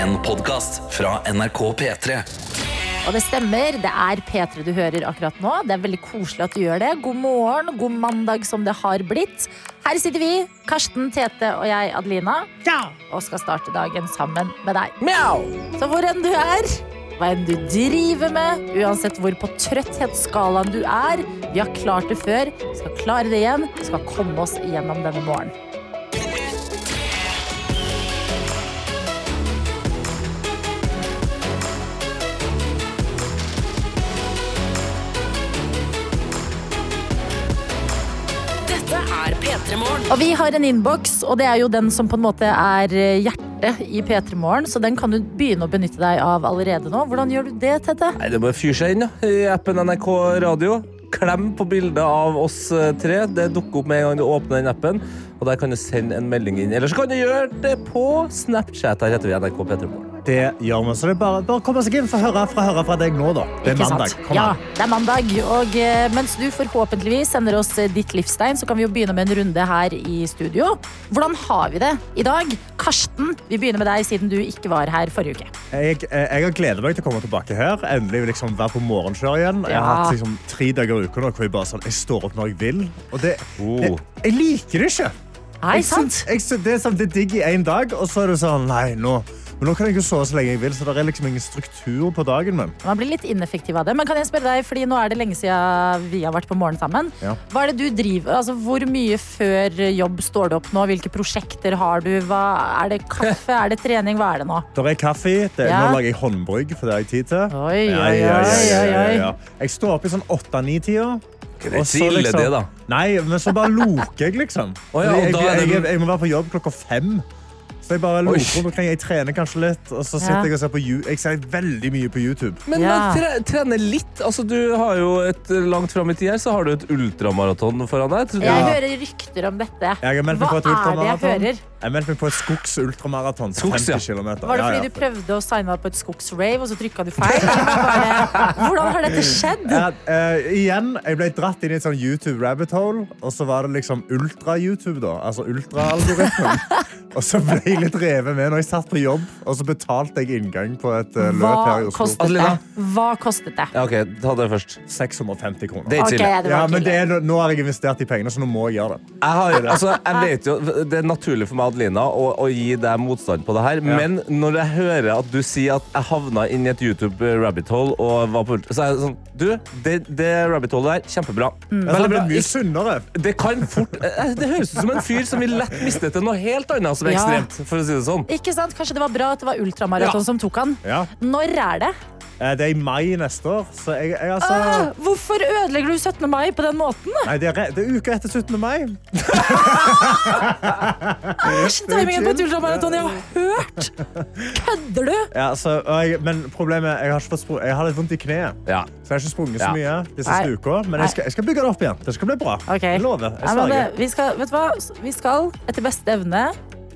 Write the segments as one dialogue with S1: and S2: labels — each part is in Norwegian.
S1: En podcast fra NRK P3
S2: Og det stemmer, det er P3 du hører akkurat nå. Det er veldig koselig at du gjør det. God morgen, god mandag som det har blitt. Her sitter vi, Karsten, Tete og jeg, Adelina, og skal starte dagen sammen med deg. Så hvor enn du er, hva enn du driver med, uansett hvor på trøtthetsskalaen du er, vi har klart det før, skal klare det igjen, skal komme oss gjennom denne morgenen. Og vi har en innboks, og det er jo den som på en måte er hjertet i P3 Morgen, så den kan du begynne å benytte deg av allerede nå. Hvordan gjør du det, Tete?
S3: Nei, det må fyre seg inn da, i appen NRK Radio. Klem på bildet av oss eh, tre. Det dukker opp med en gang du åpner den appen. Og der kan du sende en melding inn. Eller så kan du gjøre det på Snapchat. Her heter vi NRK Petremorgen.
S4: Det gjør vi. Så det er bare, bare komme seg inn for å høre fra, høre fra deg nå, da. Det er
S2: Ikke sant?
S4: mandag. Kom
S2: ja,
S4: an.
S2: det er mandag. Og eh, mens du forhåpentligvis sender oss eh, ditt livstegn, så kan vi jo begynne med en runde her i studio. Hvordan har vi det i dag? Karsten, vi begynner med deg siden du ikke var her forrige uke.
S4: Jeg, eh, jeg har gledet meg til å komme tilbake her. Endelig liksom være på morgenskjør igjen. Jeg har
S2: Ja.
S4: hatt liksom, tre dager i uka nå hvor jeg bare sånn, jeg står opp når jeg vil. Og det, det,
S3: Oh.
S4: jeg liker det ikke.
S2: Nei,
S4: Jeg
S2: sant?
S4: syns- Jeg, syns- det er sånn, det er digg i én dag, og så er det sånn Nei, nå, men nå kan jeg jo sove så lenge jeg vil, så det er liksom ingen struktur på dagen min.
S2: Man blir litt ineffektiv av det. Men kan jeg spørre deg, fordi nå er det lenge siden vi har vært på morgen sammen.
S4: Ja.
S2: Hva er det du driver? Altså, hvor mye før jobb står du opp nå? Hvilke prosjekter har du? Hva, er det kaffe? Er det trening? Hva er det nå?
S4: Der er kaffe. Det,
S2: Ja.
S4: Nå lager jeg håndbrygg, for det har jeg tid til.
S2: Oi,
S4: Ja,
S2: oi,
S4: ja, ja, ja,
S2: oi,
S4: ja,
S2: oi.
S4: ja. Jeg står opp i sånn åtte-ni-tida. liksom-
S3: det er ikke ille det, da.
S4: Nei, men så bare loker jeg, liksom.
S3: Å ja, og
S4: jeg,
S3: da er
S4: jeg,
S3: det-
S4: jeg, jeg må være på jobb klokka fem. Så jeg bare loker
S3: Oi.
S4: rundt omkring. Jeg trener kanskje litt, og så
S2: Ja.
S4: sitter jeg og ser på You- Jeg ser veldig mye på YouTube.
S3: Men
S2: Ja.
S3: man tre trener litt. Altså, du har jo et eh, langt fram i tid her, så har du et ultramaraton foran deg. Tror du?
S2: Jeg
S4: Ja.
S2: hører rykter om dette.
S4: Jeg har meldt meg
S2: Hva
S4: på et
S2: er det jeg
S4: ultramaraton.
S2: hører?
S4: Jeg meldte meg på et skogs-ultramaraton.
S3: Skogs, ja.
S4: 50 kilometer.
S2: Var det
S4: Ja,
S2: fordi
S4: ja.
S2: du prøvde å signe deg på et skogsrave, og så trykka du feil? Bare, Hvordan har dette skjedd?
S4: Ja, eh, igjen, jeg ble dratt inn i et sånn YouTube-rabbit hole, og så var det liksom ultra-YouTube, da. Altså ultra-algoritmen. og så ble jeg litt revet med når jeg satt på jobb, og så betalte jeg inngang på et eh, løp her
S2: Hva
S4: i Oslo.
S2: kostet det?
S3: Adelina?
S2: Hva kostet det?
S3: Ja, OK, ta det først.
S4: 650 kroner.
S3: Det er
S2: Ok,
S3: ikke ille.
S2: det
S4: ja,
S2: var
S4: men det
S2: ikke
S4: er, no- nå har jeg investert de pengene, så nå må jeg gjøre det.
S3: Jeg har, altså, jeg vet jo, det er naturlig for meg Adelina, å, å gi deg motstand på det her, men når jeg hører at du sier at jeg havna inn i et YouTube-rabbit hole, og var på, så er jeg sånn Du, det, det rabbit holet der, kjempebra.
S4: Altså,
S3: Mm. Veldig
S4: det
S3: bra.
S4: er mye sunnere.
S3: Det kan fort eh, Det høres ut som en fyr som vil lett miste til noe helt annet som er
S2: Ja.
S3: ekstremt, for å si det sånn.
S2: Ikke sant? Kanskje det var bra at det var ultramaraton
S3: Ja.
S2: som tok han?
S4: Ja.
S2: Når er det?
S4: Eh, Det er i mai neste år, så jeg, jeg altså
S2: Ah, Hvorfor ødelegger du 17. mai på den måten?
S4: Nei, det er, re- det er uka etter 17. mai.
S2: Æsj, timingen på et ultramaraton jeg har hørt! Kødder du?
S4: Ja, så, og jeg, men problemet jeg har, ikke fått spro- jeg har litt vondt i kneet.
S3: Ja.
S4: Så jeg har ikke sprunget så
S3: Ja.
S4: mye de siste
S2: Nei.
S4: uka, men jeg skal, jeg skal bygge det opp igjen. Det skal bli bra.
S2: Ok.
S4: Jeg
S2: Nei,
S4: lover. Jeg
S2: men det,
S4: sverger.
S2: vi, skal, vet du hva? vi skal etter beste evne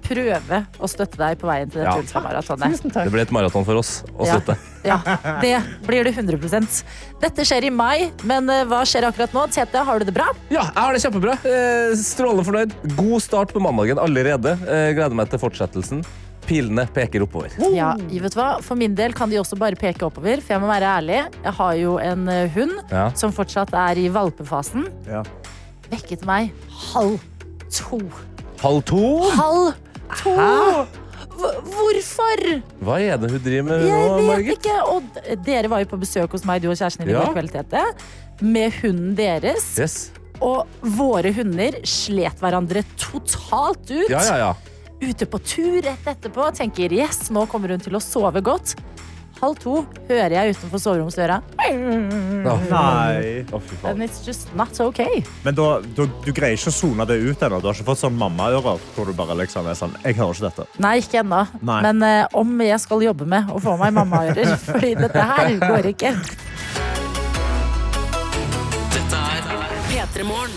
S2: prøve å støtte deg på veien til dette
S3: Ja.
S2: ultramaratonet.
S4: Tusen
S3: Det
S4: takk.
S3: ble et maraton for oss å
S2: Ja.
S3: slutte.
S2: Ja, det blir det 100 Dette skjer i mai, men eh, hva skjer akkurat nå? Tete, har du det bra?
S3: Ja, jeg har det kjempebra. Eh, strålende fornøyd. God start på mandagen allerede. Eh, gleder meg til fortsettelsen. Pilene peker oppover.
S2: Ja, vet du hva? For min del kan de også bare peke oppover, for jeg må være ærlig. Jeg har jo en eh, hund
S3: Ja.
S2: som fortsatt er i valpefasen.
S4: Ja.
S2: Vekket meg halv to.
S3: Halv to.
S2: Halv to! Hv- Hvorfor?
S3: Hva er det hun driver med nå,
S2: Jeg vet
S3: Margit?
S2: ikke. Og d- dere var jo på besøk hos meg, du og kjæresten din, i
S3: Ja.
S2: går kveld, Tete. Med hunden deres.
S3: Yes.
S2: Og våre hunder slet hverandre totalt ut.
S3: Ja, ja, ja.
S2: ute på tur rett etterpå tenker yes, nå kommer hun til å sove godt. Halv to hører jeg utenfor soveromsdøra.
S3: Å,
S4: Nei.
S3: Mm, å, fy faen.
S2: And it's just not okay.
S4: Men da, da, du greier ikke å sone det ut ennå. Du har ikke fått sånn mammaører hvor du bare liksom er sånn Jeg hører ikke dette.
S2: Nei, ikke ennå.
S4: Nei.
S2: Men eh, om jeg skal jobbe med å få meg mammaører, fordi dette her går ikke.
S1: Dette er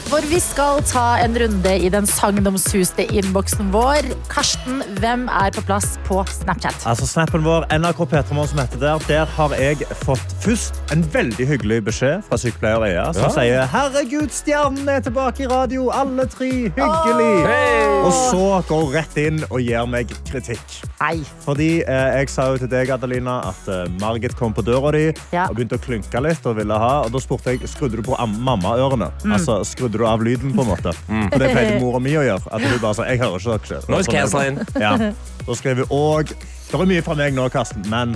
S2: For vi skal ta en runde i den sagnomsuste innboksen vår. Karsten, hvem er på plass på Snapchat?
S4: Altså Snappen vår NRK Petremorgen som heter der, der har jeg fått først en veldig hyggelig beskjed fra sykepleier Ea, som
S3: Ja.
S4: sier Herregud, stjernen er tilbake i radio, alle tre, hyggelig! Og så går hun rett inn og gir meg kritikk.
S2: Nei.
S4: Fordi eh, jeg sa jo til deg, Adelina, at eh, Margit kom på døra di
S2: Ja.
S4: og begynte å klynke litt. og ville ha, og Da spurte jeg skrudde du på am- mammaørene. Altså, skrudde du av lyden, på en måte. For det pleide mora mi å gjøre. at hun bare sa, jeg hører ikke dere.
S3: Noise cancelling.
S4: Sånn. Ja. Da skrev hun òg Det er mye fra meg nå, Karsten, men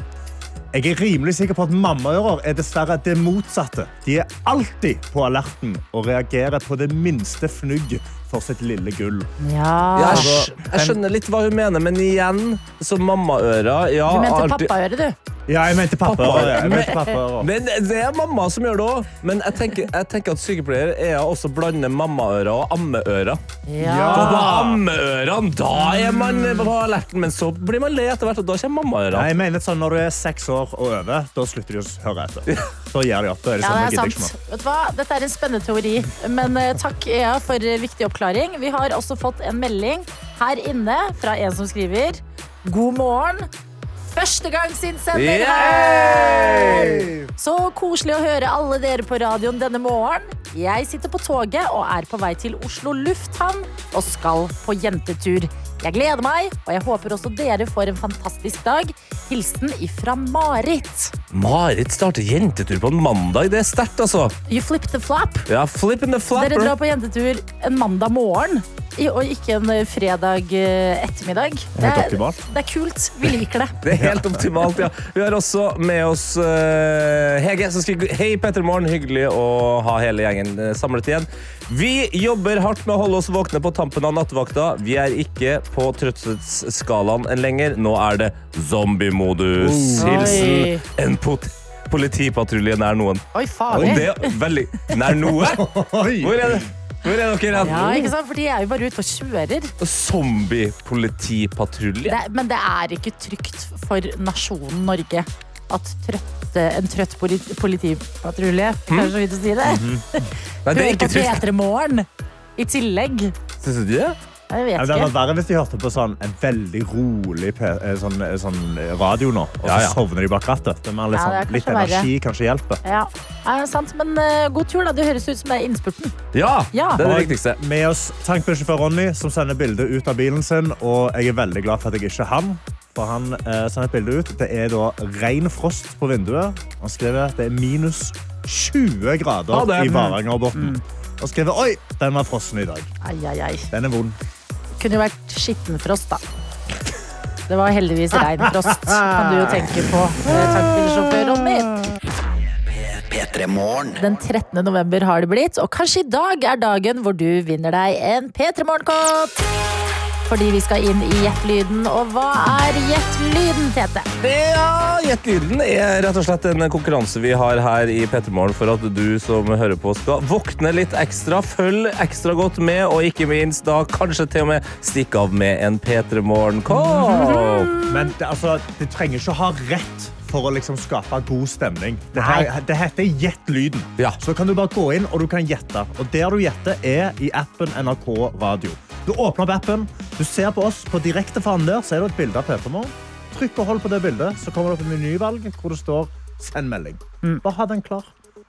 S4: jeg er rimelig sikker på at mammaører er dessverre det motsatte. De er alltid på alerten og reagerer på det minste fnugg for sitt lille gull.
S2: Ja.
S3: Jeg, skj- altså, jeg skjønner litt hva hun mener, men igjen, så mammaører ja,
S2: Du mente
S3: alltid-
S2: pappaøre, du.
S4: Ja, jeg mente pappaører. ja. Jeg mente pappaører.
S3: Men det er mamma som gjør det òg. Men jeg tenker, jeg tenker at sykepleier er også blander mammaører og ammeører. For på ammeørene, da er man på alerten, men så blir man lei etter hvert, og da kommer
S4: Nei,
S3: mammaørene.
S4: jeg mener sånn Når du er seks år og over, da slutter de å høre etter. Da gir de opp. Da er
S2: Ja, det
S4: de sånn, «Nå
S2: er
S4: gidder jeg ikke
S2: sant. Vet du hva? Dette er en spennende teori. Men eh, takk Ea for eh, viktig oppklaring. Vi har også fått en melding her inne fra en som skriver God morgen. Førstegangsinnsender her!
S4: mer.»
S2: Så koselig å høre alle dere på radioen denne morgen. Jeg sitter på toget og er på vei til Oslo lufthavn og skal på jentetur. Jeg gleder meg, og jeg håper også dere får en fantastisk dag. Hilsen ifra Marit.
S3: Marit starter jentetur på en mandag. Det er sterkt, altså.
S2: You flip the flap.
S3: Ja, flippin' the
S2: Dere
S3: flapper.
S2: drar på jentetur en mandag morgen, i- og ikke en eh, fredag eh, ettermiddag. Det
S4: Helt
S2: er,
S4: optimalt.
S2: det er kult. Vi liker det.
S3: Det er helt optimalt, ja. Vi har også med oss eh, Hege. som skriver Hei, Petter Morgen. Hyggelig å ha hele gjengen eh, samlet igjen. Vi jobber hardt med å holde oss våkne på tampen av nattevakta. Vi er ikke på trøtthetsskalaen lenger. Nå er det zombiemodus.
S2: Oi.
S3: Hilsen en pot politipatrulje nær noen.
S2: Oi,
S3: Og
S2: farlig.
S3: det er veldig Nær noe? Hvor
S4: Oi!
S3: er det? Hvor er dere
S2: Ja,
S3: hen?
S2: ikke sant? For de er jo bare ute og kjører.
S3: Zombiepolitipatrulje?
S2: Det, men det er ikke trygt for nasjonen Norge at trøtte, en trøtt politi, politipatrulje Kanskje så vidt å si det.
S3: Nei, Mm. det er
S2: Hører
S3: ikke
S2: på
S3: trygt.
S2: P3morgen i tillegg.
S3: Syns du det?
S2: Jeg
S4: Ja,
S2: vet
S4: det hadde
S2: ikke.
S4: vært verre hvis de hørte på sånn, en veldig rolig pe- eh, sånn, eh, sånn eh, radio nå, og så
S3: Ja, ja.
S4: sovner de bak rattet. Det er mer litt,
S2: Ja,
S4: sånn,
S2: det er
S4: litt
S2: kanskje verre.
S4: energi kanskje hjelper.
S2: Ja, er det sant, men eh, god tur, da. Det høres ut som det er innspurten.
S3: Ja!
S2: Ja.
S3: Det er det viktigste.
S4: Og Med oss tankbussjåfør Ronny, som sender bilde ut av bilen sin. Og jeg er veldig glad for at jeg ikke er han. For han eh, sender et bilde ut. Det er da ren frost på vinduet. Han skriver at det er minus 20
S3: Ja,
S4: grader
S3: det Mm. er-
S4: i Varangerbotn. Og skriver oi, den var frossen i dag.
S2: Ai, ai, ai.
S4: Den er vond.
S2: Kunne jo vært skittenfrost, da. Det var heldigvis reinfrost, kan du jo tenke på. eh, Tankbilsjåfør Ronny.
S1: P3-morgen.
S2: Den 13. november har det blitt, og kanskje i dag er dagen hvor du vinner deg en P3 Morgenkopp. Fordi vi skal inn i Gjett-lyden, og hva er Gjett-lyden, Tete?
S3: Ja, Gjett lyden er rett og slett en konkurranse vi har her i Pettermorgen for at du som hører på skal våkne litt ekstra, følg ekstra godt med, og ikke minst da kanskje til og med stikke av med en
S2: Mhm.
S3: Pettermorgen-kopp.
S4: Men det, altså, det trenger ikke å ha rett for å liksom skape god stemning. Det, her, det heter Gjett lyden.
S3: Ja.
S4: Så kan du bare gå inn og du kan gjette. Og der du gjetter, er i appen NRK Radio. Du åpner opp appen, du ser på oss på direktefanen der, så er det et bilde av Petermor. Trykk og hold på det bildet, så kommer det opp et menyvalg hvor det står send melding. Bare ha den klar.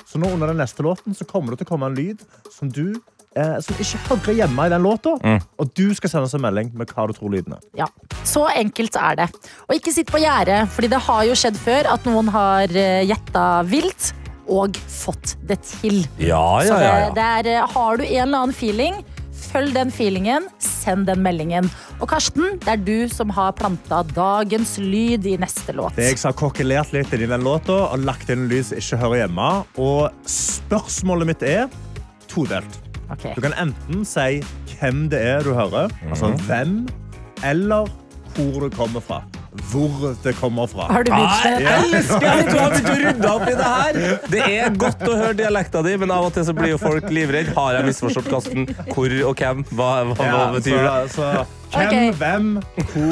S4: Så nå under den neste låten så kommer det til å komme en lyd som du eh, som ikke hører hjemme i den låta. Og du skal sende oss en melding med hva du tror lyden er.
S2: Ja, så enkelt er det. Og ikke sitt på gjerdet, fordi det har jo skjedd før at noen har eh, gjetta vilt og fått det til.
S3: Ja,
S2: Så
S3: ja,
S2: det,
S3: ja. ja.
S2: det er, eh, har du en eller annen feeling, følg den feelingen, send den meldingen. Og Karsten, det er du som har planta dagens lyd i neste låt.
S4: Det jeg har kokkelert litt inn i den låta og lagt inn en lyd som ikke hører hjemme. Og spørsmålet mitt er todelt.
S2: Ok.
S4: Du kan enten si hvem det er du hører, altså
S3: Mhm.
S4: hvem, eller hvor det kommer fra. Hvor det kommer fra.
S2: Har du begynt med
S3: Jeg elsker at du har begynt å rydde opp i det her! Det er godt å høre dialekta di, men av og til så blir jo folk livredd. Har jeg misforstått Karsten? Hvor og hvem? Hva, hva, hva
S4: Ja,
S3: betyr det?
S4: så, så Hvem,
S2: Ok.
S4: hvem,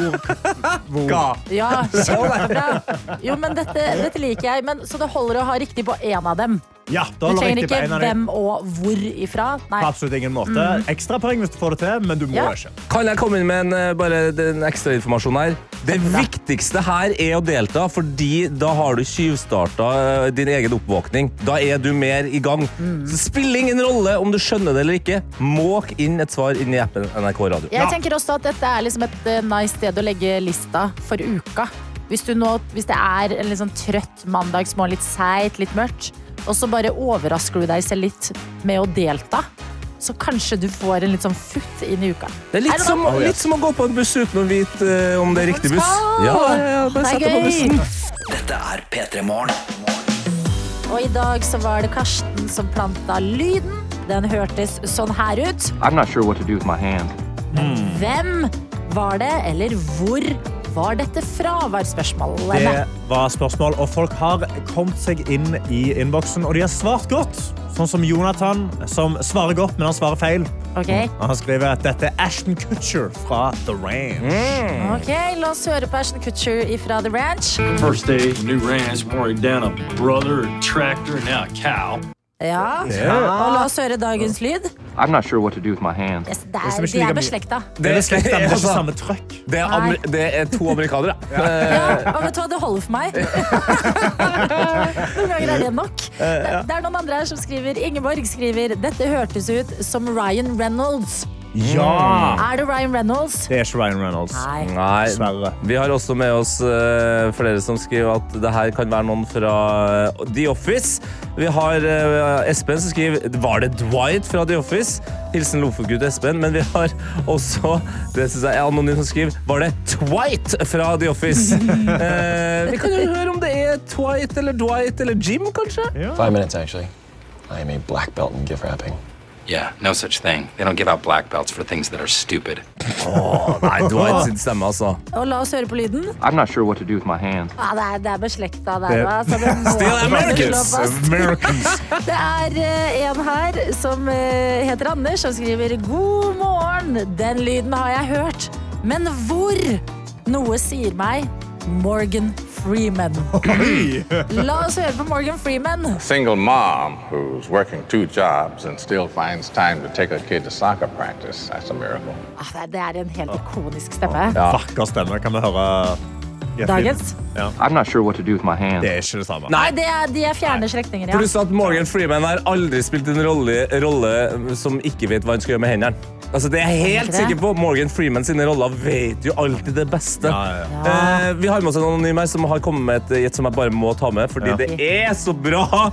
S4: hvor, hvor?
S2: Ja, kjempebra. Jo, men dette, dette liker jeg. Men, så det holder å ha riktig på én av dem.
S4: Ja, da
S2: Du
S4: holder
S2: trenger
S4: riktig på
S2: ikke
S4: en av dem.
S2: hvem og hvor ifra. Nei.
S4: På absolutt ingen måte. Ekstrapoeng hvis du får det til, men du må
S2: Ja.
S4: ikke.
S3: Kan jeg komme inn med en, eh, bare den ekstra informasjon her? Det viktigste her er å delta, fordi da har du tjuvstarta eh, din egen oppvåkning. Da er du mer i gang. Så spiller ingen rolle om du skjønner det eller ikke. Måk inn et svar inn i appen NRK Radio.
S2: Jeg tenker også at dette er liksom et eh, nice sted å legge lista for uka. Hvis, du nå, hvis det er en litt sånn trøtt mandagsmorgen, litt seigt, litt mørkt, og så bare overrasker du deg selv litt med å delta, så kanskje du får en litt sånn futt inn i uka.
S3: Det er litt
S2: det
S3: som,
S2: noe-
S3: litt som å gå på en buss uten å vite eh, om det er riktig buss.
S2: Skal!
S3: Ja, ja, ja, bare
S2: Det er
S3: sett deg på
S2: gøy.
S3: bussen.
S1: Dette er P3 Morgen.
S2: Og i dag så var det Karsten som planta lyden. Den hørtes sånn her ut.
S5: I'm not sure what to do with my hands.
S2: Hvem var det, eller hvor var dette fra, var spørsmålet.
S4: Det var spørsmål, og folk har kommet seg inn i innboksen, og de har svart godt. Sånn som Jonathan, som svarer godt, men han svarer feil.
S2: Ok,
S4: Og han skriver at dette er Ashton Kutcher fra The Ranch.
S3: Mm.
S2: ok, la oss høre på Ashton Kutcher fra The Ranch.
S6: First day, new ranch, mowing down a brother, a tractor, and now a cow.
S2: Ja, og la oss høre dagens lyd.
S5: I'm not sure what to do with my hands.
S2: Yes, det
S4: Det som
S2: er,
S4: ikke
S2: de
S4: liker
S2: er
S4: mye.
S2: beslekta.
S4: Det er slekta, men det er ikke
S3: altså,
S4: samme trøkk.
S3: det er, amer- det er to amerikanere. Eh,
S2: Ja, og vet du hva, det holder for meg. Noen ganger er det nok.
S4: Eh,
S2: Det det er noen andre her som skriver Ingeborg skriver dette hørtes ut som Ryan Reynolds.
S4: Ja!
S2: Er det Ryan Reynolds?
S4: Det er ikke Ryan Reynolds.
S2: Nei.
S3: Nei,
S4: Dessverre.
S3: Vi har også med oss eh, flere som skriver at det her kan være noen fra eh, The Office. Vi har eh, Espen som skriver Var det Dwight fra The Office? Hilsen Lofotgutt Espen. Men vi har også det synes jeg er anonym som skriver Var det Twight fra The Office? Eh, vi kan jo høre om det er Twight eller Dwight eller Jim, kanskje?
S7: Five minutes, actually. I am a black belt in gift wrapping.
S8: Yeah, no such thing. They don't give out black belts for things that are stupid.
S3: Nei, Dwight sin stemme, altså.
S2: Og la oss høre på lyden.
S5: I'm not sure what to do with my hands.
S2: Ja, det, er, det er beslekta der,
S4: Det-
S2: da. Så det må
S3: Still Americans.
S2: slå fast.
S4: Americans.
S2: Det er eh, en her som eh, heter Anders, som skriver God morgen, den lyden har jeg hørt. Men hvor? Noe sier meg Morgan Freeman. La oss høre på Morgan Freeman.
S9: single mom who's working two jobs and still finds time to take her kid to soccer practice. That's a miracle.
S2: Ah, det er- det er en helt ikonisk stemme.
S4: Vakker stemme. Kan vi høre i et
S2: Dagens?
S4: lyd? Ja.
S5: I'm not sure what to do with my hands.
S4: Det er ikke det samme.
S2: Nei, det er, de er fjerne slektninger, ja.
S3: Pluss at Morgan Freeman har aldri spilt en rolle, rolle som ikke vet hva han skal gjøre med hendene. Altså, det er jeg helt
S2: Ikke det?
S3: sikker på. Morgan Freeman sine roller vet jo alltid det beste.
S4: Ja, ja, ja.
S3: Eh, vi har med oss en anonym her som har kommet med et gjett som jeg bare må ta med, fordi
S4: Ja.
S3: det er så bra.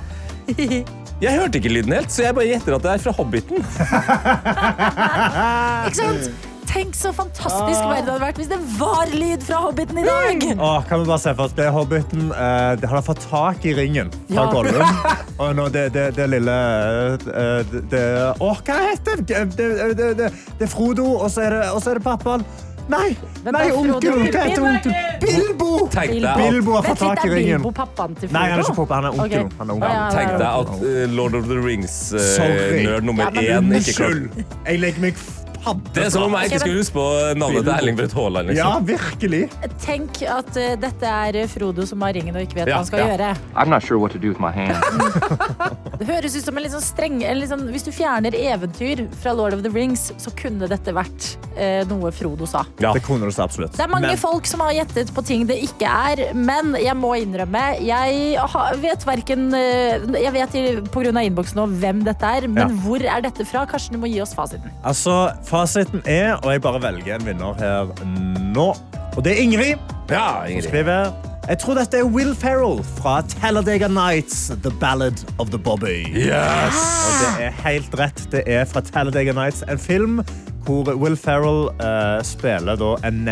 S3: Jeg hørte ikke lyden helt, så jeg bare gjetter at det er fra Hobbiten.
S2: Ikke sant? Tenk så fantastisk verden hadde vært hvis det var lyd fra Hobbiten i dag!
S4: Åh, kan vi bare se for oss, det er Hobbiten. Eh, det har fått tak i ringen fra
S2: Ja.
S4: Gollum. Og nå det, det, det lille eh, det, det, Åh, hva heter det? Det, det, det? det er Frodo, og så er det, og så er det pappaen. Nei,
S2: Vent da,
S4: nei,
S2: Frodo
S4: onkel! Hva heter
S2: Pilpin?
S4: onkel? Bilbo!
S3: Tenk deg at,
S4: Bilbo har fått
S2: Vent litt,
S4: tak i
S2: er
S4: ringen.
S2: Bilbo pappaen til Frodo?
S4: Nei, han er ikke pappa, han er
S2: Ok.
S4: onkel. Han er onkel.
S2: Å, ja,
S3: tenk
S2: ja,
S3: deg
S2: ja.
S3: at eh, Lord of the
S4: Sorry.
S3: Rings-nerd Eh, nummer
S2: Ja, men
S3: én ikke klarte
S4: Unnskyld! Jeg legger meg fadde
S3: Det er som om jeg ikke skulle huske på navnet til Erling Braut Haaland.
S4: Ja,
S3: Liksom.
S4: virkelig.
S2: Tenk at eh, dette er Frodo som har ringen og ikke vet
S3: Ja,
S2: hva han skal
S3: ja.
S2: gjøre.
S5: I'm not sure what to do with my hands.
S2: Det høres ut som en litt sånn streng en litt sånn- Hvis du fjerner eventyr fra Lord of the Rings, så kunne dette vært eh, noe Frodo sa.
S3: Ja.
S4: Det kunne du så absolutt.
S2: Det er mange
S4: Men-
S2: folk som har gjettet på ting det ikke er, men jeg må innrømme Jeg har- vet hverken eh, Jeg vet i- på grunn av innboksen nå hvem dette er, men
S4: Ja.
S2: hvor er dette fra? Karsten, du må gi oss fasiten.
S4: Altså, Fasiten er, og jeg bare velger en vinner her nå. Og det er Ingrid.
S3: Ja,
S4: Hun
S3: Ingrid.
S4: skriver Jeg tror dette er Will Ferrell fra Talladega Nights, The Ballad of the Bobby. Og det er helt rett. Det er fra Talladega Nights, en film hvor Will Ferrell eh, spiller da en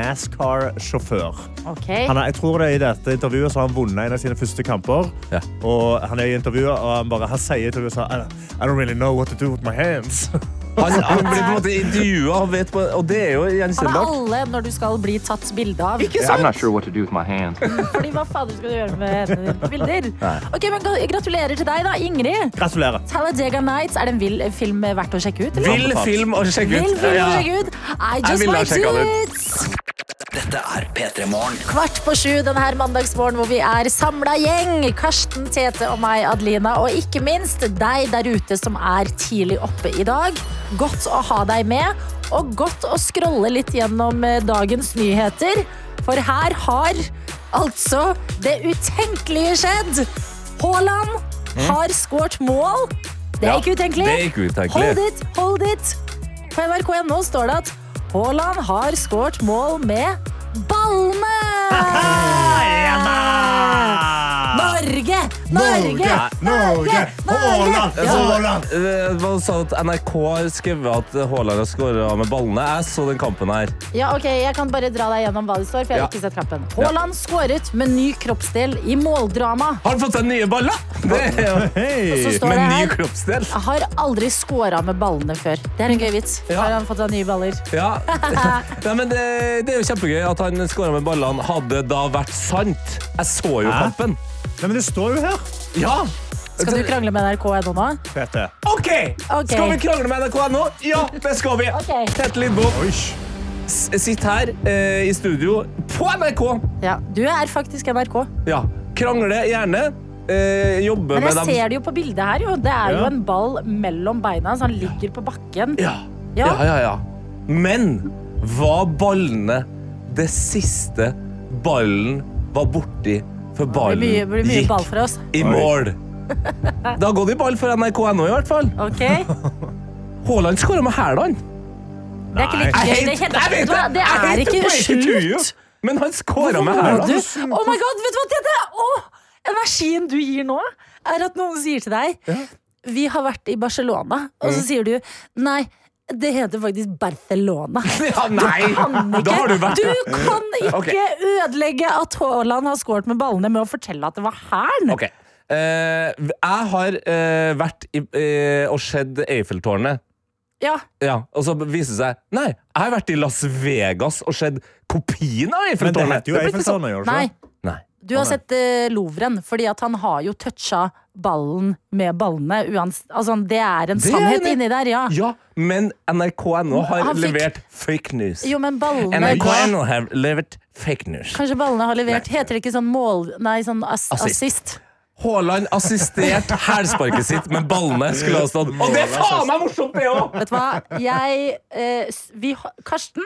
S4: NASCAR-sjåfør.
S2: Ok.
S4: Han er, jeg tror det er I dette intervjuet så har han vunnet en av sine første kamper.
S3: Ja.
S4: Og han er i intervjuet, og han, bare, han sier i intervjuet sånn I don't- I don't really know what to do with my hands.
S3: Han, han blir på en måte intervjua, og, vet på- og det er jo
S2: Han er
S3: gjenkjennbart.
S2: alle når du skal bli tatt bilde av. Ikke
S5: I'm not sure what to do with my hands.
S2: Fordi hva fader skal du gjøre med hendene dine på bilder? Ok, men gra- Gratulerer til deg, da, Ingrid.
S4: Gratulerer.
S2: Talladega Nights, er det en vill eh, film verdt å sjekke ut? eller?
S3: Vill film å sjekke
S2: Vill film
S3: ut.
S2: å
S3: Ja.
S2: sjekke ut? I just
S3: ville ha
S2: might
S3: sjekket
S2: do
S3: den
S2: it!
S1: Dette er P3 Morgen.
S2: Kvart på sju denne mandagsmorgen hvor vi er samla gjeng. Karsten, Tete og meg, Adelina. Og ikke minst deg der ute som er tidlig oppe i dag. Godt å ha deg med, og godt å scrolle litt gjennom eh, dagens nyheter. For her har altså det utenkelige skjedd. Haaland har skåret mål. Det er
S3: Mm. Ja,
S2: ikke utenkelig.
S3: det er ikke utenkelig.
S2: Hold it, hold it. På nrk.no står det at Haaland har skåret mål med ballene! Norge! Norge!
S4: Norge! Haaland!
S2: Ja.
S4: Haaland!
S3: Eh, Man sa at NRK har skrevet at Haaland har skåra med ballene. Jeg så den kampen her.
S2: Ja, ok, Jeg kan bare dra deg gjennom hva det står. for jeg har
S3: Ja.
S2: ikke sett kampen. Haaland skåret med ny kroppsdel i måldrama.
S3: Har han fått seg nye baller? Det er jo
S2: Så
S4: Hei!
S2: står
S3: Med
S2: det
S3: ny
S2: her
S3: kroppsdel.
S2: jeg har aldri skåra med ballene før. Det er en gøy vits.
S3: Ja.
S2: Har han fått seg nye baller?
S3: Ja. Nei, men det, det er jo kjempegøy at han skåra med ballene. Hadde da vært sant. Jeg så jo
S4: Hæ?
S3: kampen.
S4: Nei, men det står jo her,
S3: Ja!
S2: Skal du krangle med NRK.no nå?
S4: Tete.
S3: OK!
S2: Ok.
S3: Skal vi krangle med NRK nå? Ja, det skal vi.
S2: Ok.
S3: Tete Lidbom,
S4: Oi.
S3: s- sitt her eh, i studio på NRK.
S2: Ja, Du er faktisk NRK.
S3: Ja. Krangle gjerne. Eh, jobbe
S2: Men
S3: med
S2: jeg
S3: dem.
S2: ser det jo på bildet her. Jo. Det er jo
S4: Ja.
S2: en ball mellom beina, så han ligger på bakken.
S3: Ja.
S2: Ja.
S3: Ja. ja, ja, Men var ballene det siste ballen var borti før
S2: Det
S3: ballen
S2: blir mye, blir mye
S3: gikk
S2: ball for oss.
S3: i mål? Det har gått i ball for NRK.no i hvert fall.
S2: Ok? Det
S3: Haaland skåra med hælene.
S2: er ikke like gøy.
S3: Jeg hate-
S2: Det, er helt-
S3: jeg vet
S2: Vet du hva? det
S3: jeg
S2: er
S3: hater
S2: ikke
S3: Blake Tuju,
S2: slutt.
S3: Men han skåra med
S2: Å,
S3: hælene.
S2: du- Oh my god, vet du hva Tete? Å, energien du gir nå, er at noen sier til deg Vi har vært i Barcelona, og
S3: Mm.
S2: så sier du Nei, det heter faktisk Barcelona.
S3: Ja, nei! Da har du vært
S2: Du kan ikke
S3: Ok.
S2: ødelegge at Haaland har skåret med ballene med å fortelle at det var hæren.
S3: Ok. Eh, jeg har eh, vært i, eh, og sett Eiffeltårnet.
S2: Ja,
S3: Ja, og så viser det seg Nei, jeg har vært i Las Vegas og sett kopien av
S4: Men det
S3: Eiffeltårnet.
S4: heter jo
S3: Det liksom- blir ikke
S4: Eiffeltårnet, gjør det
S2: nei
S4: ikke?
S3: Nei.
S2: Du har sett eh, Louvren, fordi at han har jo toucha ballen med ballene. Uans altså, det er en
S3: Det er
S2: sannhet
S3: enig.
S2: inni der, ja.
S3: Ja, men NRK.no har
S2: Han fikk-
S3: levert fake news.
S2: Jo, men ballene
S3: NRK.no har levert fake news.
S2: Kanskje ballene har levert Heter det ikke sånn mål... Nei, sånn ass
S3: Assist.
S2: assist.
S3: Haaland assisterte hælsparket sitt med ballene, skulle ha stått. Og det er faen meg morsomt, det òg!
S2: Vet du hva? Jeg eh, s- vi, har- Karsten,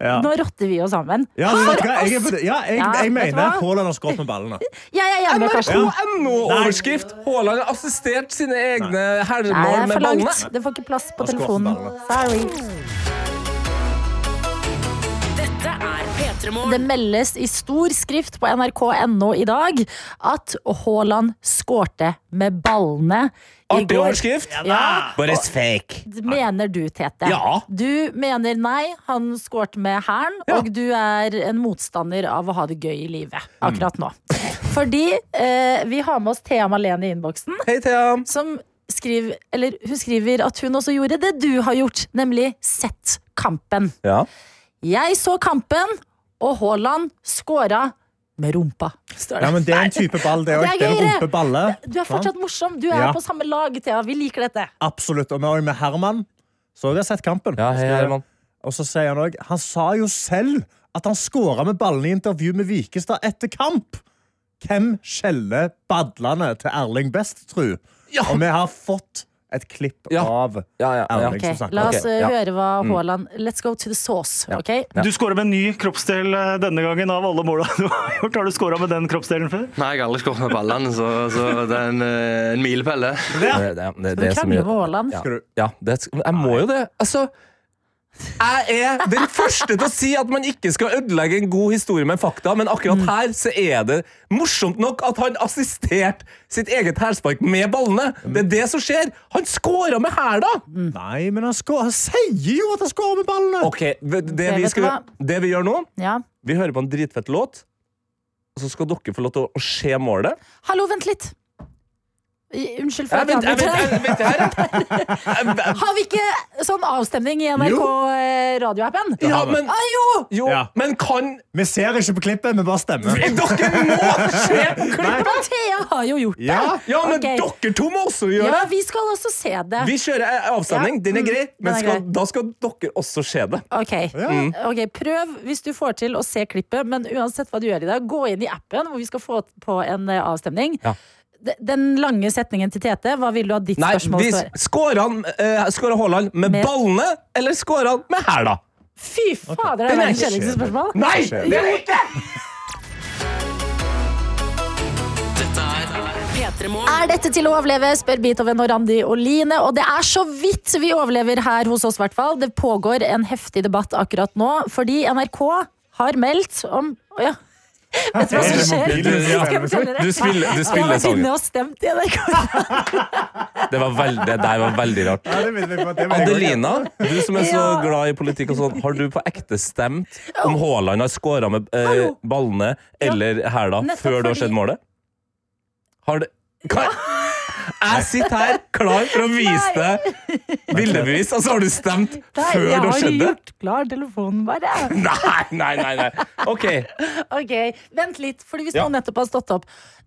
S4: Ja.
S2: nå rotter vi jo sammen.
S4: Ja, men vet du hva? Jeg, er på det. ja, jeg,
S2: Ja, vet
S4: jeg
S2: du
S4: mener
S2: hva?
S4: Haaland har skåret med ballene.
S2: Jeg er enig med Karsten.
S3: NRK.no-overskrift. Haaland har assistert sine egne
S2: Nei, det
S3: hælmål
S2: er
S3: med
S2: for
S3: ballene.
S2: langt. Det får ikke plass på
S4: Da skal
S2: telefonen.
S4: ballene.
S2: Sorry. Det meldes i stor skrift på nrk.no i dag at Haaland skårte med ballene i
S3: Artig
S2: går.
S3: overskrift.
S2: Ja,
S3: But it's fake.
S2: mener du, Tete.
S3: Ja.
S2: Du mener nei, han skårte med hæren, og du er en motstander av å ha det gøy i livet
S3: Mm.
S2: akkurat nå. Fordi eh, vi har med oss Thea Malene i innboksen,
S3: Hei, Thea.
S2: som skriver, eller hun skriver at hun også gjorde det du har gjort, nemlig sett kampen.
S3: Ja.
S2: Jeg så kampen, og Haaland skåra med rumpa. Står det.
S4: Ja, men det er en type ball, det
S2: Det
S4: òg.
S2: er
S4: Det er
S2: gøyere.
S4: rumpeballe.
S2: Du er fortsatt morsom. Du er
S4: Ja.
S2: på samme lag, Thea. Vi liker dette.
S4: Absolutt. Og vi har jo med Herman. Så vi har sett kampen.
S3: Ja, hei, Herman.
S4: Og så sier han òg Han sa jo selv at han skåra med ballene i intervju med Vikestad etter kamp. Hvem skjeller badlene til Erling best, tru?
S3: Ja.
S4: Og vi har fått et klipp
S3: Ja.
S4: av
S3: Ja, ja, ja.
S4: Erling
S2: Ok,
S4: som snakker.
S2: La oss
S3: Ok,
S2: eh,
S3: ja.
S2: høre hva Haaland Let's go to the sauce. ok?
S10: Du skåra med en ny kroppsdel eh, denne gangen av alle måla du har gjort. Har du skåra med den kroppsdelen før?
S7: Nei, jeg har aldri skåret med ballene, så, så det er en, eh, en milepæl, det.
S3: Det, det, det, det
S2: Du
S3: er så
S2: krangler
S3: mye-
S2: med Haaland.
S3: Ja,
S4: Skal du-
S3: ja det, sk- jeg må jo det. Altså jeg er den første til å si at man ikke skal ødelegge en god historie med fakta, men akkurat her så er det morsomt nok at han assisterte sitt eget hælspark med ballene. Det er det som skjer. Han scora med hæla!
S4: Mm. Nei, men han, skår, han sier jo at han skårer med ballene!
S3: Ok, det, det,
S2: vet du
S3: vi skal, det vi gjør nå,
S2: Ja.
S3: vi hører på en dritfett låt, og så skal dere få lov til å, å se målet.
S2: Hallo, vent litt. Unnskyld for
S3: Jeg
S2: at jeg
S3: venter, jeg venter,
S2: avbryter
S3: jeg
S2: deg.
S3: venter her, jeg.
S2: Har vi ikke sånn avstemning i NRK eh, radioappen?
S3: Ja, men
S2: Ah, jo!
S3: Jo,
S4: Ja.
S3: men kan
S4: Vi ser ikke på klippet, vi bare stemmer.
S3: Dere må se på
S4: Nei.
S3: klippet!
S2: Men Thea har jo gjort det.
S4: Ja,
S3: Ja, men
S2: Ok.
S3: dere to må også gjøre
S2: Ja,
S3: det!
S2: vi skal også se det.
S3: Vi kjører eh, avstemning.
S2: Ja.
S3: Den er grei,
S2: Mm,
S3: men
S2: den er
S3: skal,
S2: grei.
S3: da skal dere også se det.
S2: Ok.
S3: Mm.
S2: ok, Prøv hvis du får til å se klippet, men uansett hva du gjør i dag, gå inn i appen hvor vi skal få på en eh, avstemning.
S3: Ja.
S2: D- Den lange setningen til Tete, hva vil du ha ditt
S3: Nei,
S2: spørsmål
S3: vi
S2: for?
S3: skårer han eh, skårer Haaland med,
S2: Med-
S3: ballene, eller skårer han med hæla?
S2: Fy fader, det er
S3: Den er
S2: verdens
S3: ikke
S2: kjedeligste spørsmål.
S3: Nei! Det er ikke!
S2: Er dette til å overleve, spør Beethoven og Randi og Line. Og det er så vidt vi overlever her hos oss, hvertfall. Det pågår en heftig debatt akkurat nå, fordi NRK har meldt om Å ja. Vet du hva som skjer?
S4: mobilen din?
S2: Skal jeg fortelle dere?
S3: Du spiller- du spiller
S2: Jeg har vært
S3: sangen.
S2: inne og stemt i NRK.
S3: Det, var veld, det der var veldig rart.
S4: Ja, det minner meg på at det var en gang.
S3: Adelina, du som er så
S2: Ja.
S3: glad i politikk, og sånn, har du på ekte stemt om Haaland har skåra med eh,
S2: Hallo.
S3: ballene eller hæla
S2: Nettopp
S3: før du har
S2: fordi-
S3: sett målet? Har det Hva? Jeg sitter her klar for å vise deg bildebevis, og så har du stemt
S2: Nei,
S3: før det
S2: jeg
S3: har
S2: har
S3: skjedd det?
S2: gjort klar telefonen, bare.
S3: Nei, nei, nei. nei. OK.
S2: Ok, Vent litt, fordi hvis
S3: Ja.
S2: noen nettopp har stått opp.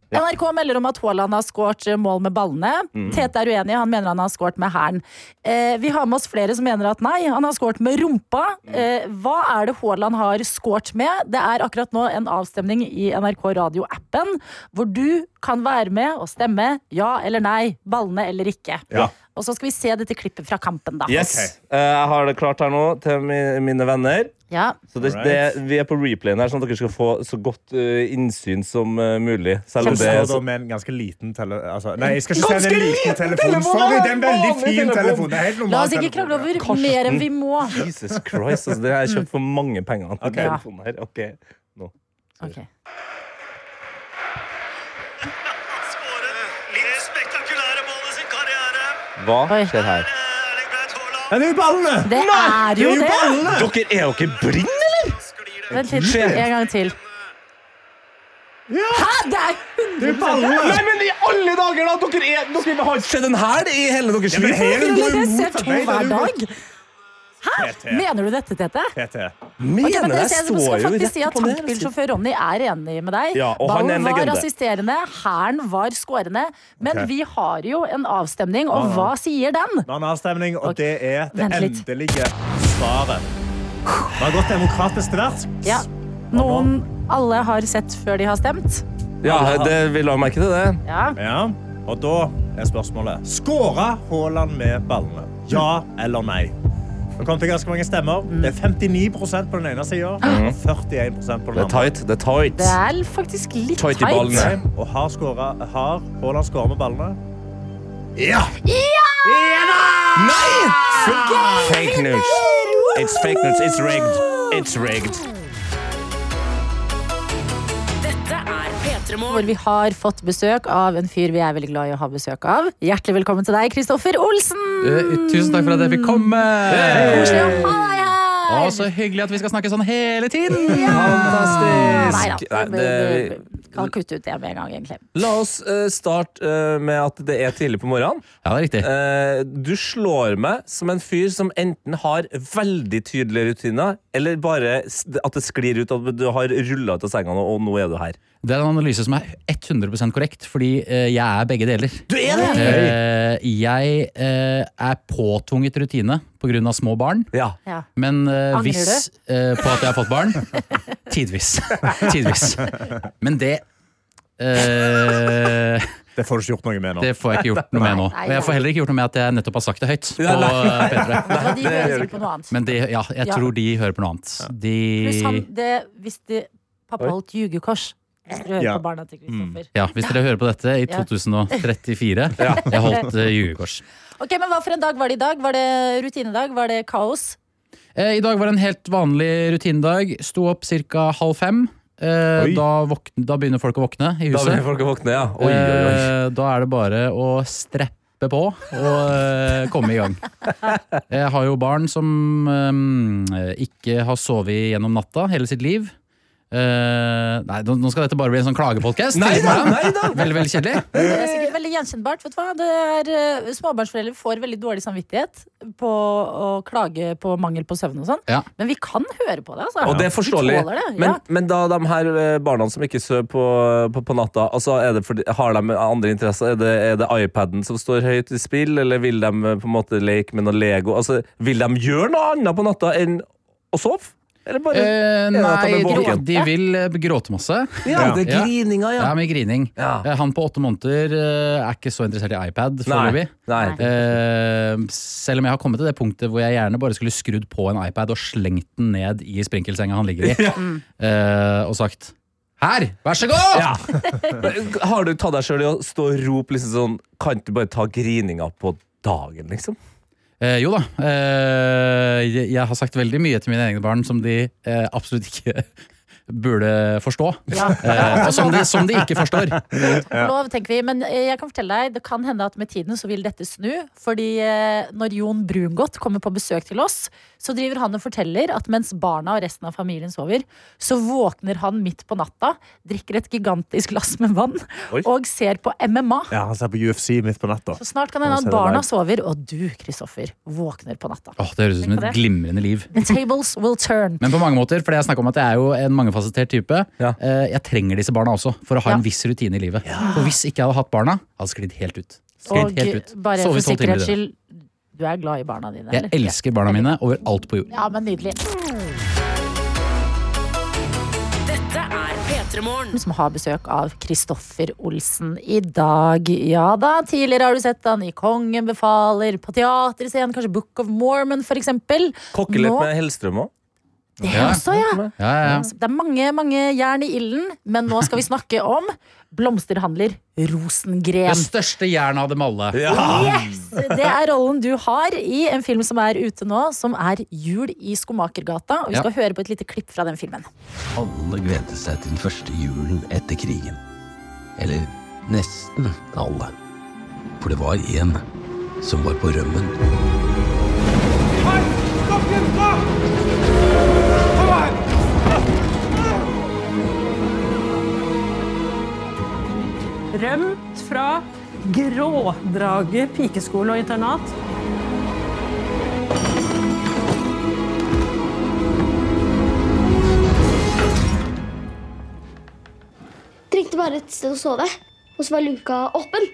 S2: NRK melder om at Haaland har skåret eh, mål med ballene.
S4: Mm.
S2: Tete er uenig, han mener han har skåret med hælen. Eh, vi har med oss flere som mener at nei, han har skåret med rumpa.
S4: Mm.
S2: Eh, hva er det Haaland har skåret med? Det er akkurat nå en avstemning i NRK Radio-appen, hvor du kan være med og stemme ja eller nei, ballene eller ikke.
S4: Ja.
S2: Og så skal vi se dette klippet fra kampen, da.
S3: Yes. Eh, Jeg har det klart her nå til mi- mine venner.
S2: Ja.
S3: Så det,
S4: Alright.
S3: det, vi er på replayen her, sånn at dere skal få så godt eh, innsyn som eh, mulig. Selv om
S4: Som
S3: det er
S4: står da
S3: så,
S4: med en ganske liten tele... Altså, nei, jeg skal ikke
S3: Ganske
S4: si det er en liten
S3: liten
S4: telefon.
S3: telefon,
S4: Sorry,
S3: det er
S4: det er en veldig
S3: en vanlig
S4: fin
S3: telefon.
S4: telefon. Det er helt normal
S2: La oss ikke
S4: telefon,
S2: krangle
S4: ja.
S2: over mer enn vi må.
S3: Jesus Christ, altså, det har jeg kjøpt for mange penger. den
S2: Ja.
S3: telefonen sånn her. Ok, nå.
S2: Ok.
S3: Hva
S2: Oi.
S3: skjer her?
S4: Ja, det er jo ballene!
S2: Det er jo det!
S4: ballene!
S3: Dere er jo ikke brinn, eller?
S2: Vent litt,
S3: Skjer.
S2: en gang til. Hæ? Det er 100
S3: Nei, men i alle dager, da! Dere, er, dere har ikke sett en hæl i hele deres
S4: Ja, men
S3: liv!
S2: Eller
S4: hele
S2: det
S4: går
S2: ser
S4: imot
S2: to
S4: meg, det er
S2: hver
S4: jo
S2: dag.
S4: PT.
S2: Mener du dette, Tete?
S4: PT.
S3: Mener
S2: Ja, men det
S3: jeg
S2: ser, skal
S3: står jo
S2: faktisk
S3: rett
S2: si at
S3: på det.
S2: Tankbilsjåfør Ronny er enig med deg.
S3: Ja, og han er
S2: Ballen
S3: en
S2: var
S3: legende.
S2: assisterende, hæren var skårende. Men
S4: Ok.
S2: vi har jo en avstemning,
S3: Ah.
S2: og hva sier den?
S4: Vi har en avstemning, og det er det
S2: Vent litt.
S4: endelige svaret. Vi har gått demokratisk til verks.
S2: Ja, Noen alle har sett før de har stemt.
S3: Ja, det, vi la merke til det.
S2: Ja.
S4: Ja, og da er spørsmålet Skåra Haaland med ballene? Ja eller nei? Det kom til ganske mange stemmer.
S2: Mm.
S4: Det er 59 på den ene sida og 41 på den
S3: Det er
S4: andre.
S3: tight. Det er tight.
S2: Det er faktisk litt
S3: Tight i
S2: tight.
S3: ballene.
S4: Nei, Og har, skåret- har Haaland skåra med ballene?
S3: Nei! Fake news. It's fake news. It's rigged. It's rigged.
S2: Hvor vi har fått besøk av en fyr vi er veldig glad i å ha besøk av. Hjertelig velkommen til deg, Kristoffer Olsen!
S11: Tusen takk for at jeg fikk komme.
S2: Koselig å ha deg her!
S11: Å, så hyggelig at vi skal snakke sånn hele tiden.
S3: Fantastisk.
S2: Nei
S3: Nei,
S2: da.
S3: det,
S2: Vi kan kutte ut det med en gang, egentlig.
S3: la oss eh, starte eh, med at det er tidlig på morgenen.
S11: Ja, det er riktig.
S3: Eh, du slår meg som en fyr som enten har veldig tydelige rutiner, eller bare s- at det sklir ut, at du har rulla ut av senga nå, og nå er du her.
S11: Det er en analyse som er 100 korrekt, fordi eh, jeg er begge deler.
S3: Du er det!
S11: Eh, jeg eh, er påtvunget rutine pga. små barn.
S3: Ja.
S2: Ja.
S11: Men eh,
S2: Angrer
S11: hvis eh, på at jeg har fått barn Tidvis. Tidvis. Men det eh,
S4: Det får du ikke gjort noe med nå.
S11: Det får jeg ikke gjort noe med nå.
S2: Nei,
S11: Og jeg får heller ikke gjort noe med at jeg nettopp har sagt det høyt. På P3.
S2: Vet du hva, de
S3: det
S2: hører
S3: gjør
S2: sikkert på noe annet.
S11: Men de, ja, jeg
S2: Ja.
S11: tror de hører på noe annet. De
S2: Pluss han, det, hvis de, pappa holdt jugekors. Hvis dere hører
S4: Ja.
S2: på barna til Kristoffer.
S11: ja, Hvis dere hører på dette i
S2: Ja.
S11: 2034 Jeg holdt uh, jugekors.
S2: Ok, men Hva for en dag var det i dag? Var det rutinedag? Var det kaos?
S11: Eh, I dag var det en helt vanlig rutinedag. Sto opp ca. halv fem. Eh,
S4: Oi.
S11: da, våkn- da begynner folk å våkne i
S3: Da blir
S11: huset.
S3: folk våkne, ja. Oi, oi, oi.
S11: Eh, da er det bare å streppe på og eh, komme i gang. Jeg har jo barn som eh, ikke har sovet gjennom natta hele sitt liv. Eh, nei, nå nå skal dette bare bli en sånn klagepodkast.
S3: Nei da, nei
S11: Veldig, veldig kjedelig.
S2: Det er sikkert veldig gjenkjennbart. Vet du hva? Det er, eh, småbarnsforeldre får veldig dårlig samvittighet på å klage på mangel på søvn og sånn.
S11: Ja.
S2: Men vi kan høre på det, altså.
S3: Og det er forståelig.
S2: Vi tåler det, ja.
S3: Men, men da de her eh, barna som ikke sover på, på, på natta, altså er det fordi, har de andre interesser? Er det, er det iPaden som står høyt i spill, eller vil de eh, på en måte leke med noe Lego? Altså, vil de gjøre noe annet på natta enn å sove? Eller bare
S11: Eh,
S3: er det at de
S11: nei,
S3: er
S11: de,
S3: våken?
S11: de vil eh, gråte masse.
S3: Ja, det er
S11: Ja.
S3: grininga, ja.
S11: Ja, med grining.
S3: Ja.
S11: Eh, Han på åtte måneder eh, er ikke så interessert i iPad
S3: Nei.
S11: foreløpig.
S3: nei.
S11: Eh, selv om jeg har kommet til det punktet hvor jeg gjerne bare skulle skrudd på en iPad og slengt den ned i sprinkelsenga han ligger i,
S2: Mm.
S11: eh, og sagt Her! Vær så god!
S3: Ja. Men Har du tatt deg sjøl i å stå og rope liksom sånn Kan du bare ta grininga på dagen, liksom?
S11: Eh, jo da. Eh, jeg, jeg har sagt veldig mye til mine egne barn som de eh, absolutt ikke burde forstå. Eh, og som de, som de ikke forstår.
S2: Takk og lov, tenker vi. Men eh, jeg kan fortelle deg, det kan hende at med tiden så vil dette snu. Fordi eh, når Jon Brungot kommer på besøk til oss, så driver han og forteller at mens barna og resten av familien sover, så våkner han midt på natta, drikker et gigantisk glass med vann
S3: Oi.
S2: og ser på MMA.
S4: Ja, Han ser på UFC midt på natta.
S2: Så snart kan det
S4: Han
S2: hende at
S4: ser det
S2: barna
S4: live.
S2: sover, og du, Kristoffer, våkner på natta.
S11: Åh, det høres ut som
S2: Tenk på
S11: et
S2: det.
S11: glimrende liv.
S2: The tables will turn.
S11: Men på mange måter, fordi jeg snakker om at jeg er jo en mangefasettert type.
S3: Ja.
S11: Eh, Jeg trenger disse barna også, for å ha
S2: Ja.
S11: en viss rutine i livet. For hvis ikke jeg hadde hatt barna, hadde jeg sklidd helt ut.
S2: Og
S11: Sklidd helt ut.
S2: bare
S11: Sovet
S2: for
S11: i tolv timer i
S2: sikkerhets
S11: døgnet.
S2: skyld, du er glad i barna dine?
S11: Jeg elsker barna mine over alt på jord.
S2: Ja, men nydelig.
S12: Dette er P3 Morgen.
S2: som har besøk av Kristoffer Olsen i dag. Ja da, tidligere har du sett han i Kongen befaler, på teaterscenen, kanskje Book of Mormon for eksempel.
S3: Kokke litt
S2: Nå-
S3: med Hellstrøm òg.
S2: Det
S11: Ja.
S2: også, ja.
S11: Ja, ja, ja.
S2: Det er mange, mange jern i ilden, men nå skal vi snakke om blomsterhandler
S11: Det
S2: Rosengren.
S11: største jernet av dem alle.
S2: Yes! Det er rollen du har i en film som er ute nå, som er Jul i Skomakergata. Og vi
S13: Ja.
S2: skal høre på et lite klipp fra den filmen.
S13: Alle gledet seg til den første julen etter krigen. Eller nesten alle. For det var én som var på rømmen.
S14: Rømt fra Grådrage pikeskole og internat.
S15: Trengte bare et sted å sove, og så var luka åpen.